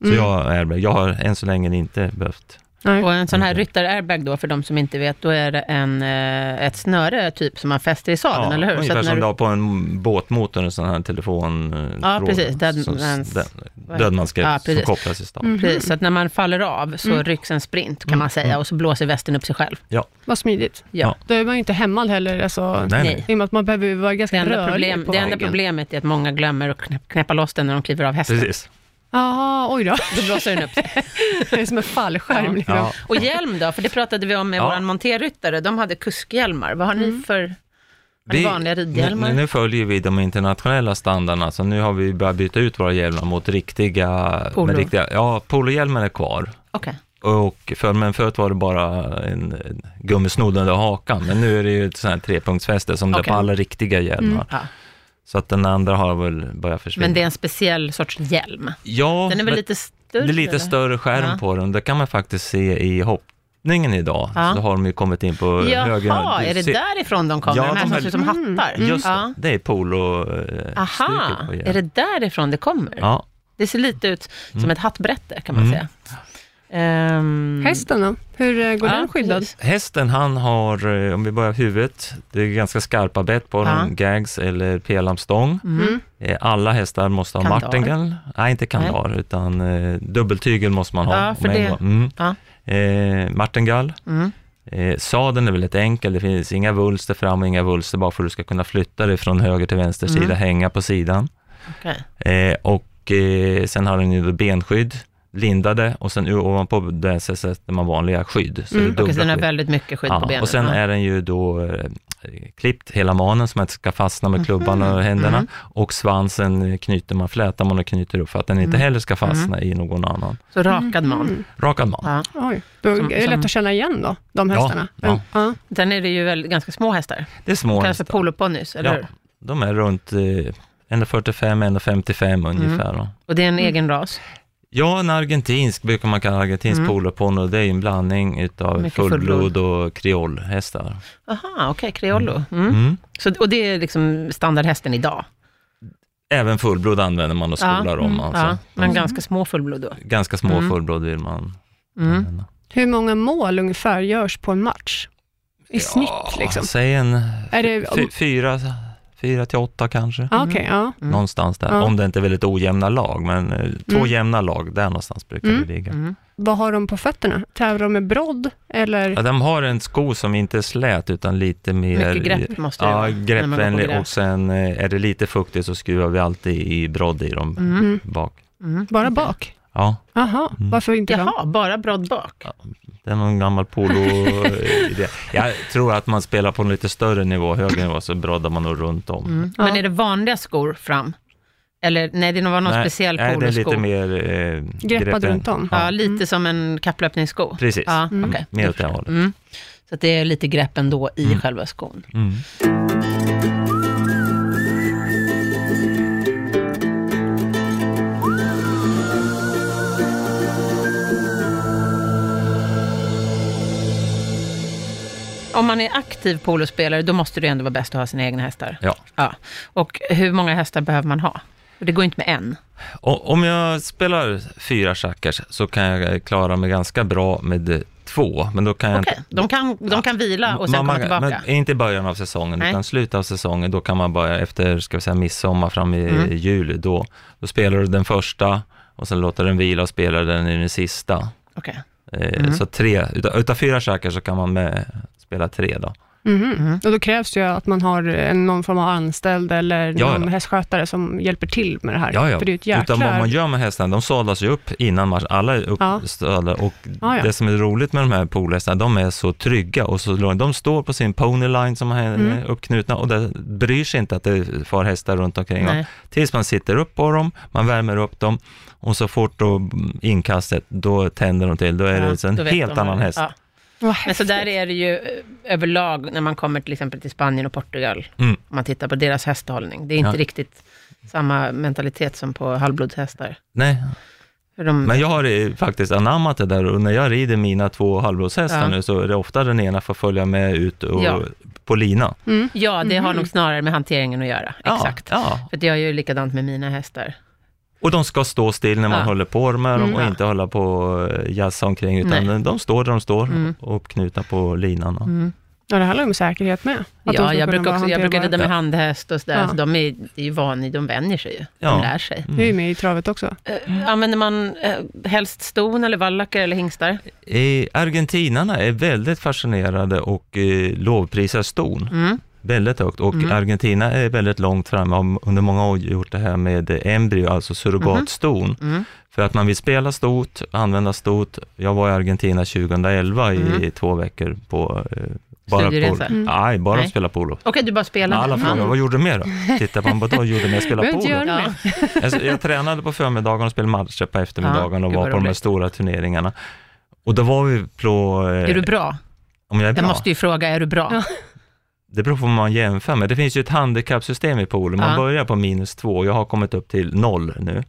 Så Mm. jag, är, jag har än så länge inte behövt. Nej. Och en sån här Mm. ryttar-airbag då, för de som inte vet, då är det en, eh, ett snöre typ som man fäster i sadeln, eller hur? ungefär att som när du du, har på en båtmotor, en sån här telefon... eh, Ja, tråd precis. Dead som- man's- den- vad Dödmansgrepp Ja, som precis. Mm. kopplas i stav. Mm. precis, så att när man faller av så rycks en sprint, kan Mm, man säga, och så blåser västen upp sig själv. Ja. Vad smidigt. Ja. Då är man ju inte hämmad heller. Alltså, Nej, Nej. nej. I och med att man behöver ju vara Det ganska enda, rörlig problem, på det enda vägen. problemet är att många glömmer att knä- knäppa loss den när de kliver av hästen. Precis. Jaha, oj då. *laughs* Då blåser den upp sig. Det är som en fallskärm. Ja. Liksom. Ja. Och hjälm då, för det pratade vi om med Ja. våran monterryttare, de hade kuskhjälmar. Vad har Mm. ni för har ni vanliga ridhjälmar? Nu, nu följer vi de internationella standarderna, så nu har vi börjat byta ut våra hjälmar mot riktiga... Polo. med riktiga ja, polohjälmen är kvar. Okej. Och för, men förut var det bara en, en gummisnodd under hakan, men nu är det ju ett sånt här trepunktsfäste som det är Okej. på alla riktiga hjälmar. Ja. Så att den andra har väl börjat försvinna. Men det är en speciell sorts hjälm. ja, Den är väl men lite större? det är lite eller? större skärm Ja. på den. Det kan man faktiskt se i hopp brottningen idag, Ja. så har de ju kommit in på högra... Jaha, du är det ser- därifrån de kommer? Ja, de här de som här- Mm, ser ut som hattar? Just Ja. det, det är polostycket Aha, på är det därifrån det kommer? Ja, Det ser lite ut som ett hattbrette kan man Mm. säga. Ehm, Hästen då? Hur eh, går ja, den skyddad? precis. Hästen han har, eh, om vi börjar huvudet, det är ganska skarpa bett Ja. på den, gags eller pelamstång. Mm. Eh, Alla hästar måste ha Kandar. martingale, nej inte kandar, utan eh, dubbeltygel måste man ha. Ja, om för en det- gång. Mm. Ja. Eh, martingale. Mm. Eh, sadeln är väldigt enkel, det finns inga vulster fram och inga vulster bara för att du ska kunna flytta dig från höger till vänster Mm. sida, hänga på sidan. okej. Eh, och eh, sen har den ju då benskydd, lindade och sen u- ovanpå det så sätter man vanliga skydd. Så Mm, det är Okej, så den dubbla har skydd. väldigt mycket skydd på Ja, benen. och sen Ja. är den ju då eh, klippt hela manen så man inte ska fastna med klubban och händerna Mhm. och svansen eh, knyter man, flätar man och knyter upp för att den inte Mm. heller ska fastna i någon annan. Så rakad Mm. man. Rakad man. Ja. Oj, då Som- är det som- lätt att känna igen då, de Ja, hästarna? ja. ja. Sen är det ju väl, ganska små hästar, Det är små kallas för hästar. poloponnys, eller Ja. hur? De är runt eh, 1,45-1,55 Mm. ungefär. då. Och det är en Mm. egen ras. Ja, en argentinsk brukar man kalla argentinsk Mm. mm. poloponny och det är ju en blandning utav Mycket fullblod och kreolhästar. Aha, okej, criollo. Mm. Mm. Så, och det är liksom standardhästen idag? Även fullblod använder man och skolar om. Alltså. ja, men ganska små fullblod då. Ganska små Mm. fullblod vill man Mm. använda. Hur många mål ungefär görs på en match? I snitt liksom? Säg en Är det, fy, fyra, fyra till åtta kanske. ja, okej, ja. Någonstans där, Ja. om det inte är väldigt ojämna lag, men eh, två Mm. jämna lag, där någonstans brukar Mm. det ligga. Mm. Vad har de på fötterna? Tävlar de med brodd eller? Ja, de har en sko som inte är slät utan lite mer... Mycket grepp måste det Ja, vara. när man går på greppvänlig gräs. och sen eh, är det lite fuktigt så skruvar vi alltid i brodd i dem Mm. Mm. bak. Mm. Bara bak? Ja, Jaha, Mm. varför inte fram? Jaha, bara brodd bak? det är någon *laughs* gammal polo-idé. Jag tror att man spelar på en lite större nivå, högre nivå, så broddar man nog runt om. Mm. Ja. Men är det vanliga skor fram? Eller nej, det var någon Nej, speciell nej, det är polosko? lite mer... Eh, Greppad greppen. runt om? Ja, Ja. lite Mm. som en kapplöpningssko? Precis, Ja, Mm. okej. mer åt det hållet. Mm. Så att det är lite grepp ändå i Mm. själva skon. Mm. Om man är aktiv polospelare, då måste det ju ändå vara bäst att ha sina egna hästar. Ja. ja. Och hur många hästar behöver man ha? Det går inte med en. Och, om jag spelar fyra schackers så kan jag klara mig ganska bra med eh, två, men då kan jag Okej, inte de, kan, de kan vila och sen Mamma- komma tillbaka. Men inte i början av säsongen, Nej. utan slutet av säsongen, då kan man börja efter, ska vi säga midsommar fram i Mm. i juli, då, då spelar du den första och sen låter den vila och spelar den i den sista. Okej. Eh, Mm. Så tre, utav, utav fyra schackar så kan man med, spela tre då. Mhm. Mm. Och då krävs det ju att man har eh, någon form av anställd eller Ja, någon ja. hästskötare som hjälper till med det här. Ja, ja. För det är ju ett Utan vad jäklar... man gör med hästarna, de sadlas ju upp innan match, alla är Ja. uppsadlade och Ja, ja. det som är roligt med de här polhästarna, de är så trygga och så långa. De står på sin ponyline som är Mm. uppknutna och det bryr sig inte att det far hästar runt omkring. Nej. Tills man sitter upp på dem, man värmer upp dem och så fort då inkastet, då tänder de till. Då är Ja, det alltså en då vet helt de. annan häst. Ja. Vad Men så där häftigt. är det ju eh, överlag när man kommer till exempel till Spanien och Portugal, Mm. om man tittar på deras hästhållning. Det är inte Ja. riktigt samma mentalitet som på halvblodshästar. Nej, För de, men jag har eh, faktiskt anammat det där och när jag rider mina två halvblodshästar Ja. nu så är det ofta den ena får följa med ut och, Ja. på lina. Mm. ja, det har nog snarare med hanteringen att göra. Ja, Exakt. Ja. För att jag gör ju likadant med mina hästar. Och de ska stå still när man Ja. håller på med dem Mm. och inte hålla på och jazza omkring, utan de står där de står, Mm. uppknutna på linan. Ja, det handlar ju om säkerhet med. Mm. Att Ja, de ska jag kunna brukar, vara också, jag brukar hanterbara. rida med handhäst och sådär, Ja. så de är, det är ju van, de vänjer sig ju. De Ja. lär sig. Mm. Det är ju med i travet också. Eh, använder man eh, helst ston eller vallacker eller hingstar? Eh, Argentinarna är väldigt fascinerade och eh, lovprisar ston Mm. väldigt högt och Argentina är väldigt långt framme, har under många år gjort det här med eh, embryo, alltså surrogatston. Mm. För att man vill spela stort, använda stort. Jag var i Argentina 2011 i Mm. två veckor på eh, bara polo. Studieresa? Mm. Nej, bara Nej. spela polo. Okej, du bara spelar? Alla med. frågar, vad gjorde du mer *laughs* då? Tittar man på vad gjorde du mer? Spela Behöver inte polo? göra Ja. mer. Alltså, jag tränade på förmiddagen och spelade matcher på eftermiddagen Ja, och gud, vad var på de här roligt. stora turneringarna. Och då var vi på... eh, Är du bra? Om jag Jag är bra? måste ju fråga, är du bra? Ja. Det beror på vad man jämför med. Det finns ju ett handikappsystem i poolen. Man Ja. börjar på minus två och jag har kommit upp till noll nu.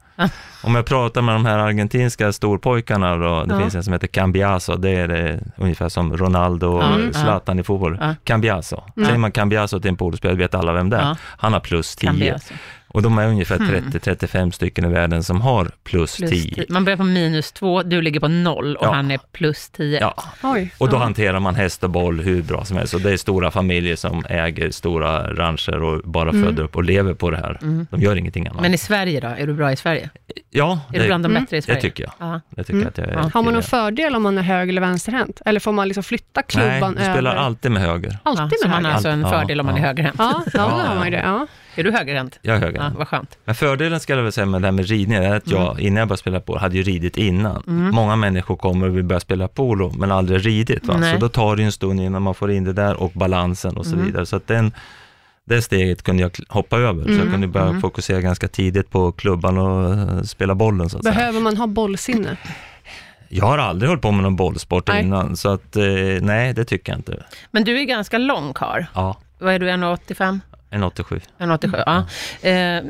Om jag pratar med de här argentinska storpojkarna då, det Ja. finns en som heter Cambiaso, det är det, ungefär som Ronaldo och Mm. Zlatan i fotboll. Ja. Cambiaso. Säger man Cambiaso till en polspelare vet alla vem det är. Ja. Han har plus 10. Kan bli alltså. Och de är ungefär 30-35 stycken i världen som har plus, Plus 10. tio. Man börjar på minus två, du ligger på noll och Ja. han är plus tio. Ja. Oj. Och då ja. hanterar man häst och boll hur bra som helst. Och det är stora familjer som äger stora rancher och bara föder upp och lever på det här. De gör ingenting annat. Mm. Men i Sverige då? Är du bra i Sverige? ja, Är du bland de bättre i det Sverige? tycker jag. Ja. Det tycker jag att jag är Har man någon till fördel om man är höger eller vänsterhänt? Eller får man liksom flytta det. Nej, klubban du spelar över? alltid med höger. Ja, Alltid så med man höger? har alltså en Ja, fördel om man är ja. högerhänt. Ja, ja, då har man ju det. Ja. Är du högerhänt? Jag är höger. Ja, vad skönt. Men fördelen ska jag väl säga med det här med ridning är att jag, innan jag började spela polo, hade ju ridit innan. Många människor kommer och vill börja spela polo, men aldrig ridit. Va? Nej. Så då tar det ju en stund innan man får in det där och balansen och så vidare. Så att den, det steget kunde jag kl- hoppa över, så jag kunde börja fokusera ganska tidigt på klubban och eh, spela bollen. Så att säga. Behöver man ha bollsinne? Jag har aldrig hållit på med någon bollsport Nej. innan, så att eh, nej, det tycker jag inte. Men du är ganska lång karl. Ja, Vad är du, 1,85? en 87. 1,87? Ja. Eh,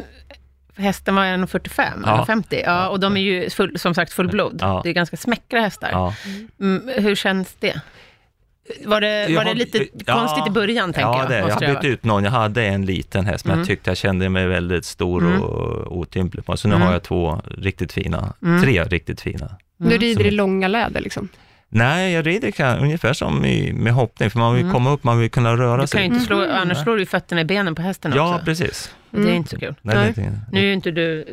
hästen var 1,45, Mm. Ja. 1,50. Ja, och de är ju full, som sagt fullblod. Ja. Det är ganska smäckra hästar. Ja. Mm, hur känns det? Var det, Jag var har- det lite ja, konstigt i början, tänker ja, jag? Mm. det är det. måste jag har vara. bytt ut någon. Jag hade en liten häst, men jag tyckte jag kände mig väldigt stor Mm. och otymplig på Så nu har jag två riktigt fina, Mm. tre riktigt fina. Du rider i långa läder liksom. Nej, jag rider kan, ungefär som i, med hoppning, för man vill komma upp, man vill kunna röra Mm. Du kan sig. ju inte slå, annars slår du ju fötterna i benen på hästen Mm. ja, också. precis. Det är inte så kul. Nej, Nej. det är inte- Nu är ju inte du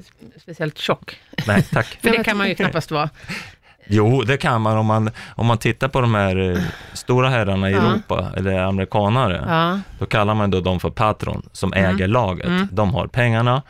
speciellt tjock, Nej, *laughs* tack. för Jag det vet. kan man ju knappast vara. Jo, det kan man om man, om man tittar på de här eh, stora herrarna i Ja. Europa, eller amerikanare. Ja. Då kallar man då dem för patron, som Mm. äger laget. De har pengarna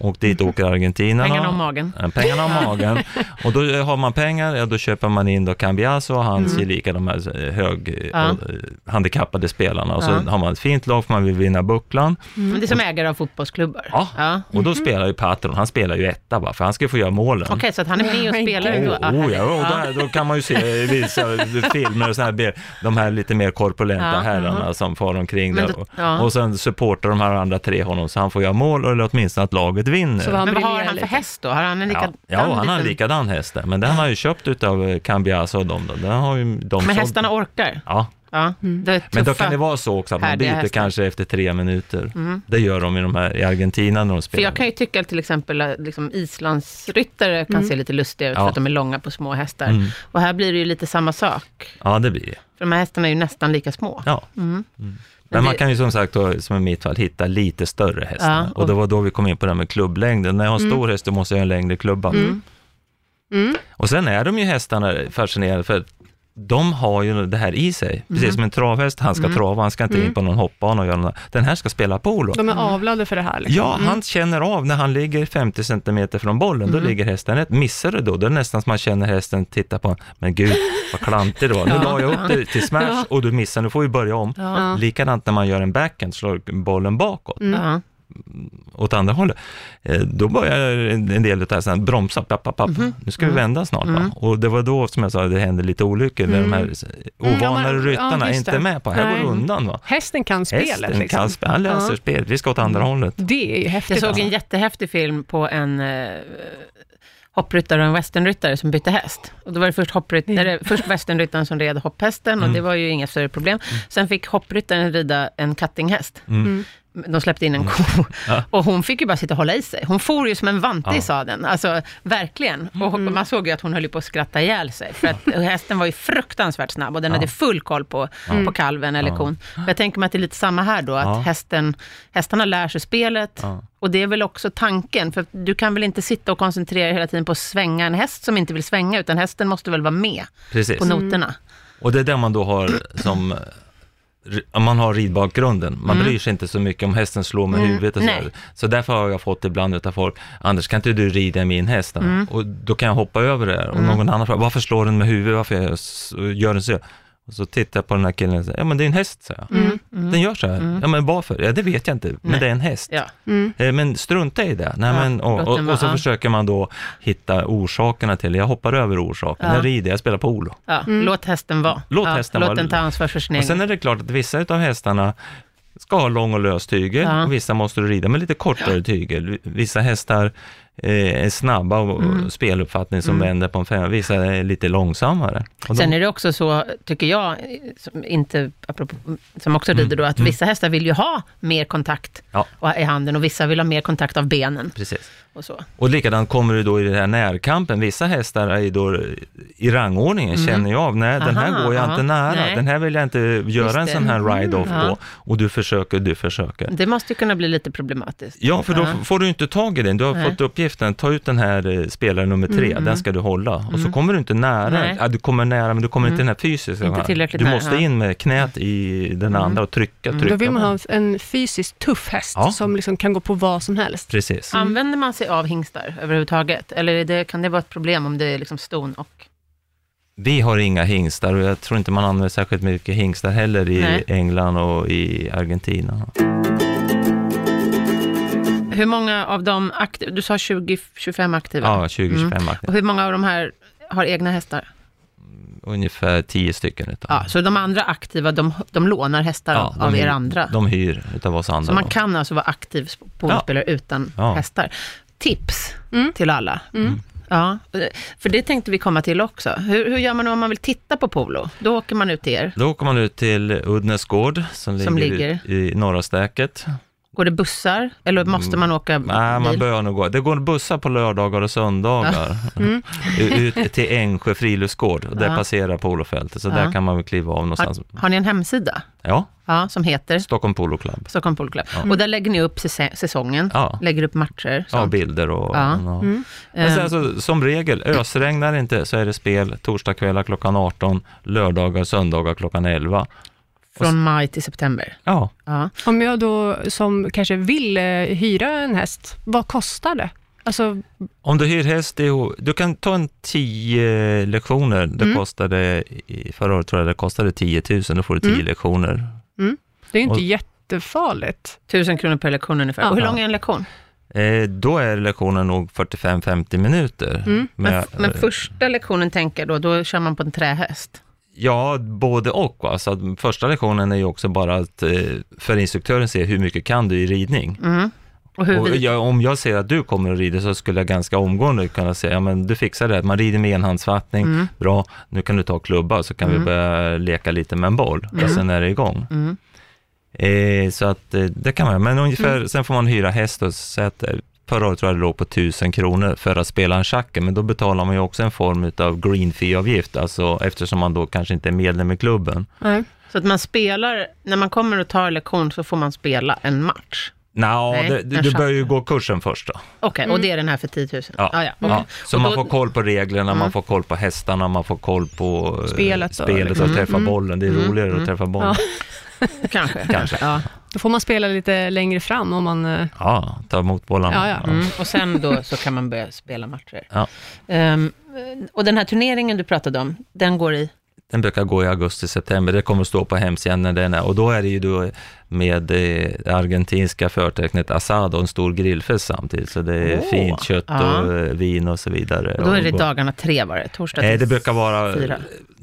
och dit åker argentinarna. Pengarna och magen. Eh, Pengarna och *laughs* magen. och då eh, har man pengar, ja, då köper man in då Cambiaso och hans gelika, de här eh, hög, Mm. Ja. ja. handikappade spelarna. Och så Ja. har man ett fint lag för man vill vinna bucklan. Men det är som ägare av fotbollsklubbar. Ja. Ja. Mhm. Och då spelar ju patron, han spelar ju etta bara, för han ska ju få göra målen. Okej, så att han är med och Men spelar gud. ändå? Oh, oh, ja, och där, då kan man ju se i vissa *laughs* filmer och såna här, bild- de här lite mer korpulenta Ja, mm-hmm. herrarna som far omkring Men där. då- Och, ja. och sen supportar de här andra tre honom så han får göra mål eller åtminstone att laget vinner. Så vad han Men vad har briljerar han för lite. häst då? Har han en Ja, likadan? ja och han har en liten- likadan häst där, men den har ju köpt utav eh, Cambiaso och dem då. Den har ju de Men sålt. hästarna orkar? Ja, Ja. Mm. Det är tuffa. men då kan det vara så också att man härliga byter hästar. Mm. kanske efter tre minuter. Det gör de i, de här, i Argentina när de För spelar. jag kan ju tycka att till exempel eh, liksom, islandsryttare kan se lite lustiga ut för Ja. Mm. att de är långa på små hästar. Och här blir det ju lite samma sak. Ja, det blir det. För de här hästarna är ju nästan lika små. Ja. Mm. Men man det- kan ju som sagt, då, som i mitt fall, hitta lite större hästar. Ja, och... Mm. det var då vi kom in på det här med klubblängden. När jag har en stor häst, då måste jag ha en längre klubba. Och sen är de ju hästarna fascinerande, för att de har ju det här i sig. Precis som en travhäst, han ska trava, han ska inte in på någon hoppbana och göra något. Den här ska spela polo. De är avlade för det här. Liksom. Mm. Ja, han känner av när han ligger 50 centimeter från bollen, Mm. då ligger hästen rätt. Missar du då, då är det nästan som man känner hästen titta på en. men gud vad klantig det var. Nu la jag upp det till smash och du missar, nu får vi börja om. Ja. Likadant när man gör en backhand, slår bollen bakåt, Ja. åt andra hållet. Eh, Då börjar en en del av det här sen bromsa, papp, papp, papp. Mhm. nu ska Mm. vi vända snart. Va? Och det var då, som jag sa, det hände lite olyckor, när de här s- Mm. Ja, ovanare men- ja, ryttarna är just inte det. med på, här Nej. går det undan. Va? Hästen kan spelet. Hästen liksom. kan spela, han läser Ja. Mm. spelet, vi ska åt andra hållet. Det är ju Jag häftigt. såg alltså. en jättehäftig film på en eh, hoppryttare och en westernryttare som bytte häst. Och då var det först, hoppryt- eller, först westernryttaren som red hopphästen och det var ju inga större problem. Sen fick hoppryttaren rida en kattinghäst. De släppte in en ko och hon fick ju bara sitta och hålla i sig. Hon for ju som en vante i sadeln, alltså verkligen. Och man såg ju att hon höll ju på att skratta ihjäl sig, för att hästen var ju fruktansvärt snabb och den hade full koll på, på kalven eller kon. Men Jag tänker mig att det är lite samma här då, att Ja. hästen, hästarna lär sig spelet, Ja. och det är väl också tanken, för du kan väl inte sitta och koncentrera dig hela tiden på att svänga en häst som inte vill svänga, utan hästen måste väl vara med Precis. på noterna. Och det är där man då har som, om man har ridbakgrunden, man bryr sig inte så mycket om hästen slår med huvudet och så, Mm. Nej. där. så därför har jag fått ibland utav folk, Anders kan inte du rida min häst? då?" Mm. Och då kan jag hoppa över det här. och någon annan frågar, varför slår den med huvudet, varför jag s- gör den så? Och så tittar jag på den här killen och säger, ja men det är en häst, säger jag. Mm. Den gör så här. Ja men varför? Ja det vet jag inte, men det är en häst. Ja. Mm. Eh, Men strunta i det. Nej, Ja, men, och, låt och, den vara, och så ja. försöker man då hitta orsakerna till det. Jag hoppar över orsaken. Ja. Jag rider, jag spelar polo. Ja. Låt hästen vara. Låt ja. hästen låt vara. den ta ansvar för sin Och sen egen... är det klart att vissa av hästarna ska ha lång och lös tygel Ja. och vissa måste du rida med lite kortare tygel. Vissa hästar eh, är snabba och Mm. och speluppfattning som vänder på en femma, vissa är lite långsammare. Och Sen de, är det också så, tycker jag, som, inte, apropå, som också rider då, att vissa hästar vill ju ha mer kontakt Mm. Ja. och- i handen och vissa vill ha mer kontakt av benen. precis. Och så. Och likadant kommer du då i den här närkampen. Vissa hästar är ju då i rangordningen, känner jag av. Nej, den Mm. Aha, här går jag aha, inte nära. nej. Den här vill jag inte göra en det. sån här ride-off Mm, ja. på. Och du försöker, du försöker. Det måste ju kunna bli lite problematiskt. Ja, för då Ja. får du inte tag i den. Du har Nej. Mm, fått uppgiften, ta ut den här eh, spelaren nummer tre, den ska du hålla. Och så kommer du inte nära. Nej. Mm. Ja, du kommer nära, men du kommer inte den här fysiska. Inte va? tillräckligt du nära, måste ja. Mm. in med knät i den andra och trycka, trycka. Då vill man på ha den. en fysiskt tuff häst Ja. som liksom kan gå på vad som helst. Precis. Använder man sig av hingstar överhuvudtaget? Eller är det, kan det vara ett problem om det är liksom ston och... Vi har inga hingstar och jag tror inte man använder särskilt mycket hingstar heller i Nej. England och i Argentina. Hur många av de aktiva, du sa 20-25 aktiva? Ja, 20-25 Och aktiva. hur många av de här har egna hästar? Ungefär 10 stycken utav Ja, så de andra aktiva, de, de lånar hästar Ja, av de er hyr- andra? De hyr utav oss andra. Så man då. kan alltså vara aktiv polospelare utan Ja. hästar. Tips till alla. Ja, för det tänkte vi komma till också. Hur, hur gör man om man vill titta på polo? Då åker man ut till er. Då kommer man ut till Uddnäs gård som, Som ligger, i norra Stäket. Går det bussar eller måste man åka bil? Mm. Nej, man bör nog gå. Det går bussar på lördagar och söndagar *laughs* ut till Ängsjö friluftsgård och där Mm. Ja. passerar polofältet, så där Ja. kan man väl kliva av någonstans. har, har ni en hemsida? Ja, Ja, som heter Stockholm Polo Club. Stockholm Polo Club. Och där lägger ni upp säsong- säsongen, Ja. lägger upp matcher. Eh, Ja, sånt. bilder och... Ja. Mm. Ehm. Ja. Men sen, alltså, som regel, ösregnar det inte så är det spel torsdagskvällar klockan 18, lördagar och söndagar klockan 11. Från maj till september. Ja, Ja. Om jag då som kanske vill eh, hyra en häst, vad kostar det? Alltså, Om du hyr häst, i, du kan ta en 10 lektioner. Det Mm. kostade, i- förra året tror jag det kostade 10 000, då får du Mm. 10 lektioner. det är ju inte Och- jättefarligt. Tusen kronor per lektion ungefär. Ja. Och hur lång är en lektion? Eh, då är lektionen nog 45-50 minuter. Mm, Men, Men, f- men första lektionen tänker jag då, då kör man på en trähäst. ja, både och. va. Så att första lektionen är ju också bara att eh, för instruktören se hur mycket kan du i ridning. Mm. Och hur Och vi jag, om jag ser att du kommer att rida så skulle jag ganska omgående kunna säga, ja men du fixar det, här. man rider med enhandsfattning, Mm. bra, nu kan du ta klubba så kan vi börja leka lite med en boll Mm. och sen är det igång. Eh, så att eh, det kan man men Mm. ungefär, sen får man hyra häst och så att eh, Förra året tror jag det låg på 1000 kronor för att spela en schacker, men då betalar man ju också en form av green fee-avgift, alltså eftersom man då kanske inte är medlem i klubben. Nej. Så att man spelar, när man kommer och tar lektion så får man spela en match. Nå, Nej, det, en du, du bör ju schacker. gå kursen först då. Okej, och det är den här för 10 000? Ja. Ah, ja. okej. Ja. Så Och man då- Mm. får koll på reglerna, man får koll på hästarna, man får koll på eh, Spelet och- spelet och träffa Mm. bollen. Det är roligare att träffa bollen. Kanske. *laughs* Kanske. Ja. Då får man spela lite längre fram om man... eh, Ja, ta emot bollarna. Ja, ja. Mm. Och sen då så kan man börja spela matcher. Ja. Ehm, och den här turneringen du pratade om, den går i? Den brukar gå i augusti, september. Det kommer att stå på hemsidan när den är. Och då är det ju då med eh, det argentinska förtecknet asado, en stor grillfest samtidigt. Så det är Åh. fint kött Ja. och eh, vin och så vidare. Och då är det Och- dagarna tre var det? Torsdag Nej, till det brukar vara fyra?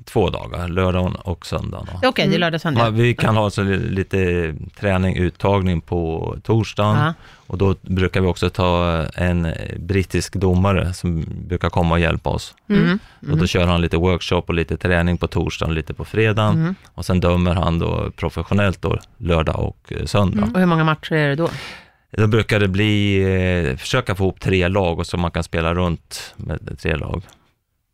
två dagar, lördagen och söndagen. då. Okej, det är lördag och Ja, söndag. vi kan ha så li- lite träning, uttagning på torsdagen Ja. och då brukar vi också ta en brittisk domare som brukar komma och hjälpa oss. Mm. Och då kör han lite workshop och lite träning på torsdagen och lite på fredagen Mm. och sen dömer han då professionellt då lördag och eh, söndag. Och hur många matcher är det då? Då brukar det bli, eh, försöka få ihop tre lag och så man kan spela runt med tre lag.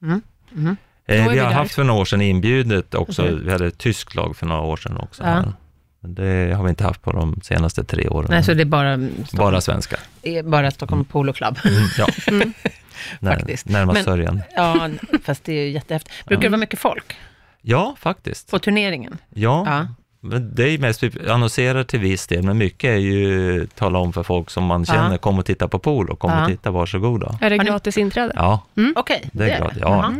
Mm. Mm. Eh, Då är vi vi har där. haft för några år sedan inbjudet också, Okej. vi hade ett tyskt lag för några år sedan också. Ja. här. Men det har vi inte haft på de senaste tre åren. Nej, så det är bara, mm, Stockholm, Bara Mm. svenska. bara. bara Stockholm Polo Club? *laughs* Ja. När, Faktiskt. Närmast Men- sörjan. Ja, fast det är ju jättehäftigt. Brukar det vara mycket folk Ja, faktiskt. på turneringen? Ja. Ja. Men det är ju mest, vi annonserar till viss del, men mycket är ju tala om för folk som man känner, kom och titta på polo, kom Ja. och titta, varsågoda. Är det Har ni- gratis inträde? Ja, Okej, det är klart. Ja. Mm.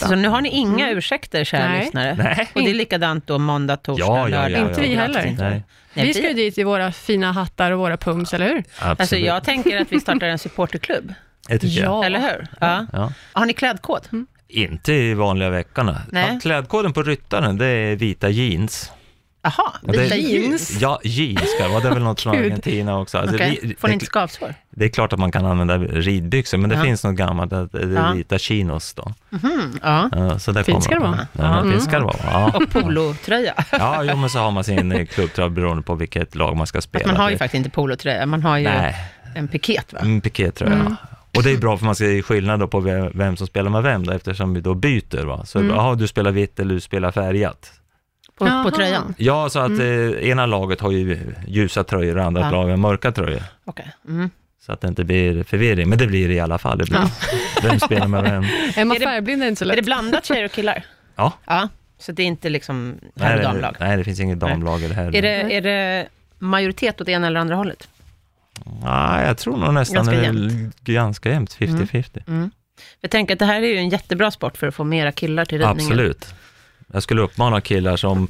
Jaha. Så nu har ni inga ursäkter, kära Nej. lyssnare? Nej. Och det är likadant då måndag, torsdag, Ja, ja, ja, lördag? ja. Inte vi heller. Nej, Nej, vi ska ju dit i våra fina hattar och våra pums, eller hur? absolut. Alltså jag tänker att vi startar en supporterklubb, det tycker jag. eller hur? Ja. Ja. Har ni klädkod? Mm. Inte i vanliga veckorna. Nej. Ja, Klädkoden på ryttaren, det är vita jeans. Jaha, Ja, det- vita jeans. Jeans. Ja, jeans ska det vara. Det är väl något från Gud. Argentina också. Alltså, Okej. ri- Får ni det, inte skavsår? det är klart att man kan använda ridbyxor, men det Ja. finns något gammalt, att det är Ja. vita chinos då. Mhm, ja. Ja, Så där Fint ska kommer det de. vara. Ja, Ja. Mm. Fint ska det vara. Ja. Och *laughs* polotröja. Ja, jo, men så har man sin eh, klubbtröja beroende på vilket lag man ska spela. Man har ju Det- faktiskt inte polotröja, man har ju Nej, en piket va? en pikétröja. Mm. Och det är bra för man ser skillnad då på ve- vem som spelar med vem då, eftersom vi då byter. Va? Så Mm. aha, du spelar vitt eller du spelar färgat. På, Jaha. på tröjan. Ja, så att eh, ena laget har ju ljusa tröjor och andra Mm. Ja. laget har mörka tröjor. Okej. Mm. Så att det inte blir förvirring, men det blir det i alla fall. Det blir, *laughs* Vem spelar *laughs* med vem? Är man Är det- färgblind är det inte så Är det lätt. blandat tjejer och killar? *laughs* Ja. Ja, så det är inte liksom Nej, herr och det- damlag? Nej, det finns inget damlag i det här. Är det, är det majoritet åt det ena eller andra hållet? Nej, jag tror nog nästan Ganska Mm. det är ganska jämnt, 50-50. Jag tänker att det här är ju en jättebra sport för att få mera killar till ridningen. Absolut. Jag skulle uppmana killar som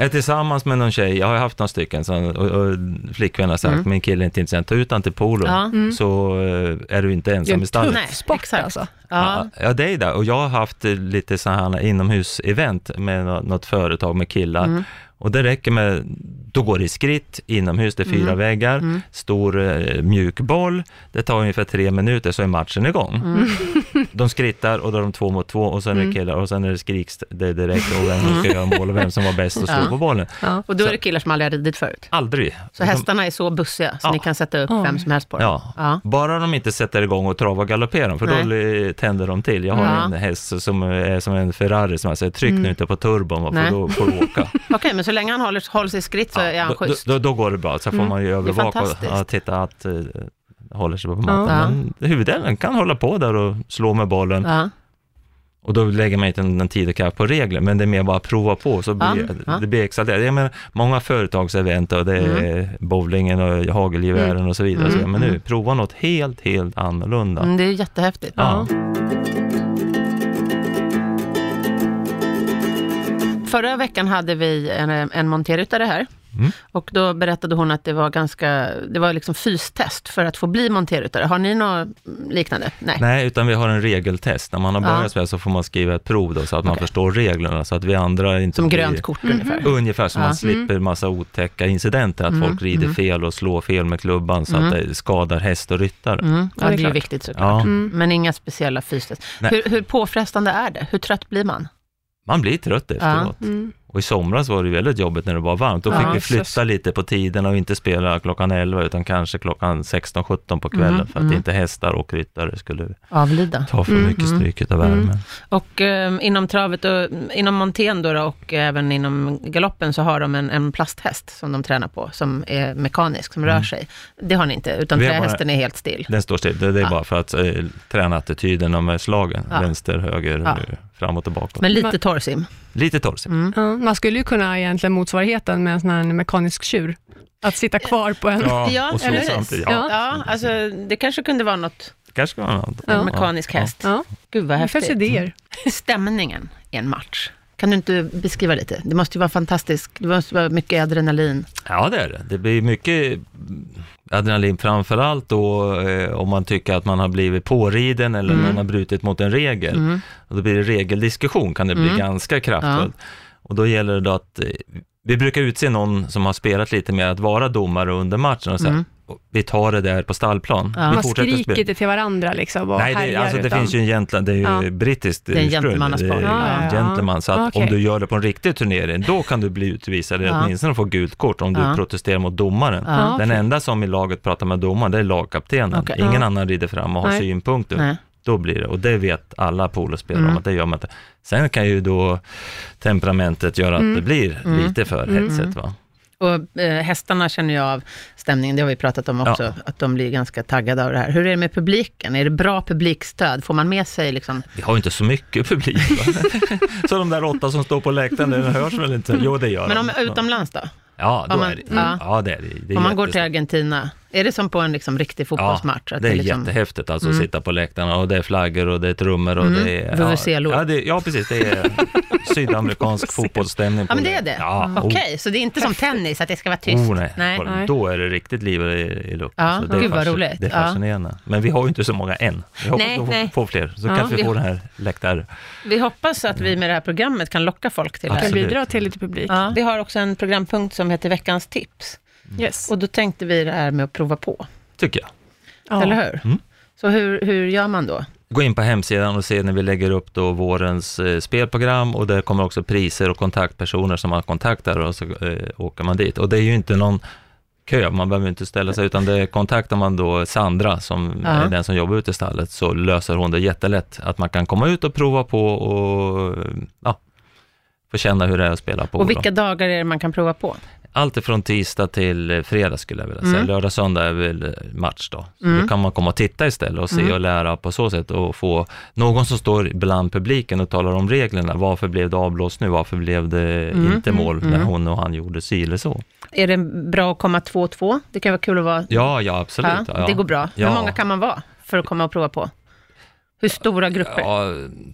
är tillsammans med någon tjej, jag har ju haft några stycken, som, och, och flickvän har sagt, min kille är inte intresserad, ta ut han till polon, Ja. så eh, är du inte Det är ensam en i stallet. Nej, tuff sport exakt. alltså. Ja. Ja, det är det. Och jag har haft eh, lite sådana inomhus-event med nå- något företag med killar. Mm. Och det räcker med, då går det i skritt inomhus, det är Mm. fyra väggar, stor eh, mjuk boll. Det tar ungefär tre minuter så är matchen igång. Mm. *laughs* De skrittar och då är de två mot två och sen är det killar och sen är det skriks det direkt och vem som ska göra mål och vem som var bäst och slå Mm. Ja. på bollen. Ja. Och då är det killar som aldrig har ridit förut. Aldrig. Så hästarna är så bussiga, så Mm. Ja. ni kan sätta upp Ja. vem som helst på dem. Ja. Ja. bara de inte sätter igång och travar och galopperar, för då eh, tänder de till. Jag har Ja. Mm. en häst som är som en Ferrari som jag säger, tryck nu inte på turbon, va, för Nej. då får du åka. Okej, men så länge han håller, hålls i skritt *laughs* så Ja, är han då, schysst. Mm. då, då går det bra, så får man ju övervaka och fantastiskt. ja, titta att eh, håller sig på mattan. Ja. Men huvuddelen kan hålla på där och slå med bollen Ja. och då lägger man inte någon tid och kraft på regler, men det är mer bara att prova på, så Ja, blir, ja. det blir exalterat. Jag menar, många företagsevent och det är Mm. bowlingen och hagelgevären och så vidare, så, men nu, prova något helt, helt annorlunda. Mm, det är jättehäftigt. Ja. Förra veckan hade vi en, en monterryttare här. Och då berättade hon att det var ganska, det var liksom fystest för att få bli monterryttare. Har ni något liknande? Nej. *laughs* Nej, utan vi har en regeltest. När man har Ja. börjat spela så får man skriva ett prov då, så att man Okej. förstår reglerna, så att vi andra inte Som blir... grönt kort ungefär. Ungefär så Ja. Mm. man slipper massa otäcka incidenter, att folk rider fel och slår fel med klubban så att det skadar häst och ryttare. Mm. Ja, är det är ju klart. viktigt såklart. Ja, Mm. Men inga speciella fystest. Nej. Hur, hur påfrestande är det? Hur trött blir man? man blir trött efteråt. Mm. Och i somras var det ju väldigt jobbigt när det var varmt. Då Ja, fick vi Jesus. flytta lite på tiden och inte spela klockan 11 utan kanske klockan 16-17 på kvällen Mm, för att mm. inte hästar och ryttare skulle Avlida. ta för mycket mm. stryk av värmen. Och eh, inom travet, och, inom montén då, då och även inom galoppen så har de en, en plasthäst som de tränar på, som är mekanisk, som rör sig. Det har ni inte, utan Vi har bara- trähästen är helt still. Den står still, det, det är bara för att eh, träna attityderna med slagen, Ja. vänster, höger, Ja. eh, fram och tillbaka. Men Mm. lite Men- torrsim. Lite torrsigt. Ja, man skulle ju kunna egentligen motsvarigheten med en sån här mekanisk tjur. Att sitta kvar på en... Ja, och så eller hur? samtidigt. Ja, Ja, alltså det kanske kunde vara något, kanske var något. en Ja. mekanisk häst. Ja, Gud vad det finns häftigt. idéer. Stämningen i en match, kan du inte beskriva lite? Det måste ju vara fantastiskt, det måste vara mycket adrenalin. Ja, det är det. Det blir mycket mm, adrenalin framför allt då eh, om man tycker att man har blivit påriden eller man har brutit mot en regel. Mm. Och då blir det regeldiskussion, kan det bli ganska kraftfullt. Och då gäller det då att eh, vi brukar utse någon som har spelat lite mer att vara domare under matchen och Mm. säga, vi tar det där på stallplan. Vi Man fortsätter skriker spela." inte till varandra liksom och Nej, det, härjar, alltså, det utan- finns ju en gentleman, det är ju Ja. brittiskt är en ursprung. gentlemannasport. Det är Ja, ja, ja. Gentleman, så att Okej. om du gör det på en riktig turnering, då kan du bli utvisad, eller Ja. åtminstone få gult kort om du Ja. protesterar mot domaren. Ja, Den okej. enda som i laget pratar med domaren, det är lagkaptenen. Okej. Ingen Ja. annan rider fram och har Nej. synpunkter. Nej. Då blir det, och det vet alla polospelare om att det gör man inte. Sen kan ju då temperamentet göra att det blir lite för hetsigt. Va? Och eh, hästarna känner ju av stämningen, det har vi pratat om också, Ja. att de blir ganska taggade av det här. Hur är det med publiken? Är det bra publikstöd? Får man med sig liksom... Vi har ju inte så mycket publik. Va? så de där åtta som står på läktaren, det hörs väl inte? Jo, det gör Men om de. utomlands då? Ja, då Om man- är det. mm. ja. Ja, det är det. det är Om man går jättestort. till Argentina Är det som på en liksom riktig fotbollsmatch? Ja, att det är liksom, jättehäftigt alltså att sitta på läktarna och det är flaggor och det är trummor och Mm. det är... Vuvuzelor. Ja, ja, det, ja, precis. Det *laughs* är sydamerikansk fotbollsstämning. på Ja, men det är det? Ja, oh. Okej, så det är inte som tennis, att det ska vara tyst? Oh, nej. Nej. Kolla, Nej. Då är det riktigt liv i, i luften. Ja, Så det är gud vad fascin- roligt. Det är Ja. fascinerande. Men vi har ju inte så många än. Vi hoppas Nej, att vi nej. får fler, så Ja. kanske vi Vi- får den här läktar... Vi hoppas att vi med det här programmet kan locka folk till det Kan här. Absolut. bidra till lite publik. Ja. Vi har också en programpunkt som heter Veckans tips. Mm. Yes. Och då tänkte vi det här med att prova på, tycker jag. Ja. eller hur? Mm. Så hur, hur gör man då? Gå in på hemsidan och se när vi lägger upp då vårens eh, spelprogram och där kommer också priser och kontaktpersoner som man kontaktar och så eh, åker man dit. Och det är ju inte någon kö, man behöver inte ställa sig, utan det kontaktar man då Sandra som Ja. är den som jobbar ute i stallet, så löser hon det jättelätt. Att man kan komma ut och prova på och eh, ja, få känna hur det är att spela på. Och då. vilka dagar är det man kan prova på? Allt ifrån tisdag till eh, fredag skulle jag vilja säga. Mm. Lördag, söndag är väl eh, match då. Så Mm. Då kan man komma och titta istället och se Mm. och lära på så sätt och få någon som står bland publiken och talar om reglerna. Varför blev det avblåst nu? Varför blev det Mm. inte mål Mm. när Mm. hon och han gjorde si eller så? Är det bra att komma 2-2? Det kan vara kul att vara... Ja, ja absolut. Ja, ja. Det går bra. Ja. Hur många kan man vara för att komma och prova på? Hur stora grupper? Ja,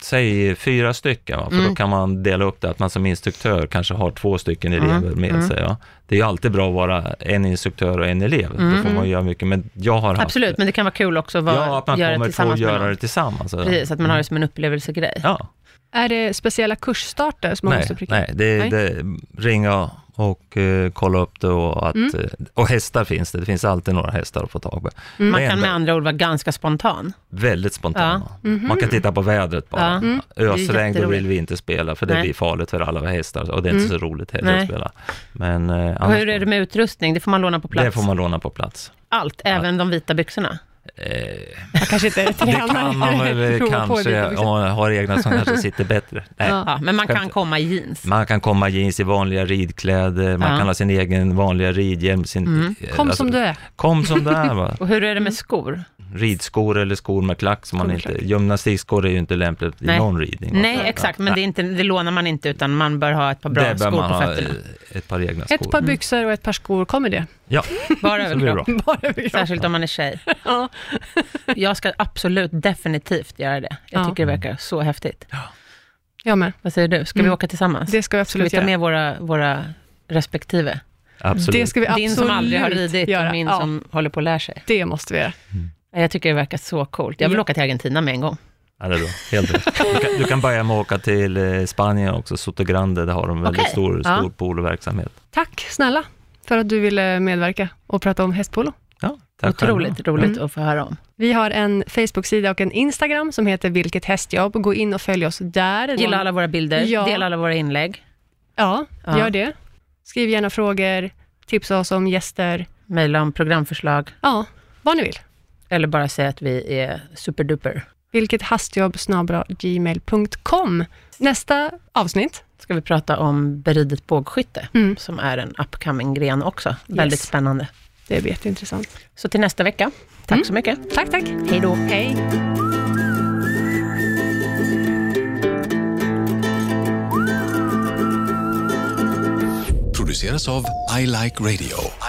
säg fyra stycken, va? för Mm. då kan man dela upp det, att man som instruktör kanske har två stycken Mm. elever med Mm. sig. Va? Det är ju alltid bra att vara en instruktör och en elev, Mm. då får man göra mycket, men jag har haft Absolut, men det kan vara kul också att vara, Ja, att man göra det kommer på att tillsammans med göra någon. det tillsammans. Mm. Precis, att man har det som en upplevelsegrej. Ja, Är det speciella kursstarter som man nej, måste pricka? nej, det, Nej. det ringa och eh, kolla upp det och, att, Mm. eh, och hästar finns det, det finns alltid några hästar att få tag på. Mm. Man Det är kan ändå med andra ord vara ganska spontan. Väldigt spontana. Mhm. Man kan titta på vädret bara. Ja. Mm. Det är Ösregn, då jätteroligt. vill vi inte spela för det Nej. Mm. blir farligt för alla hästar och det är inte så roligt heller Nej. att spela. Men eh, Och annars, hur är det med utrustning? Det får man låna på plats. det får man låna på plats. Allt, även de vita byxorna. Eh, Jag kanske inte det tränar. kan *laughs* man väl Prova på kanske, det. om man har egna som kanske sitter bättre. Nej, Ja. Ja, men man kan Skämt. komma i jeans. Man kan komma i jeans i vanliga ridkläder, man Ja. kan ha sin egen vanliga ridhjälm. Sin, Mm. eh, Kom alltså, som du är. Kom som du *laughs* är va. Och hur är det med skor? Mm. Ridskor eller skor med klack. Som man Skor med inte, gymnastikskor är ju inte lämpligt Nej. i någon ridning. va? Nej, exakt, men det, är inte, det lånar man inte, utan man bör ha ett par bra Där bör skor man på ha fötterna. eh, ett par egna skor. Ett par byxor och ett par skor, kommer det? Ja, Bara så blir det överkropp. bra. *laughs* Bara vi- Särskilt om man är tjej. ja. Jag ska absolut definitivt göra det. Jag Ja. tycker det verkar så häftigt. Jag med. Vad säger du? Ska vi Mm. åka tillsammans? Det ska vi ska vi absolut ta göra. med våra, våra respektive? Absolut. Det ska vi absolut Din som aldrig har ridit göra. och min ja, som håller på att lära sig. Det måste vi göra. Jag tycker det verkar så coolt. Jag vill Ja. åka till Argentina med en gång. Ja, det är bra. Helt rätt. Du kan, du kan börja med att åka till eh, Spanien också, Sotogrande, där har de väldigt Okej. stor, Ja. stor poloverksamhet. Tack snälla för att du ville medverka och prata om hästpolo. Ja, tack själva. Otroligt roligt att få höra om. Vi har en Facebook-sida och en Instagram som heter Vilket hästjobb. Gå in och följ oss där. Gilla alla våra bilder, Ja. dela alla våra inlägg, Ja, Ja. gör det. Skriv gärna frågor, tipsa oss om gäster. mejla om programförslag Ja, vad ni vill. eller bara säga att vi är superduper. Vilket hastjobb snabel-a gmail.com. Nästa avsnitt. Ska vi prata om beridet bågskytte, Mm. som är en upcoming gren också. Väldigt spännande. Det blir jätteintressant. Så till nästa vecka. Tack så mycket. Tack, tack. Mm. Hej då. Hej. produceras av I Like Radio.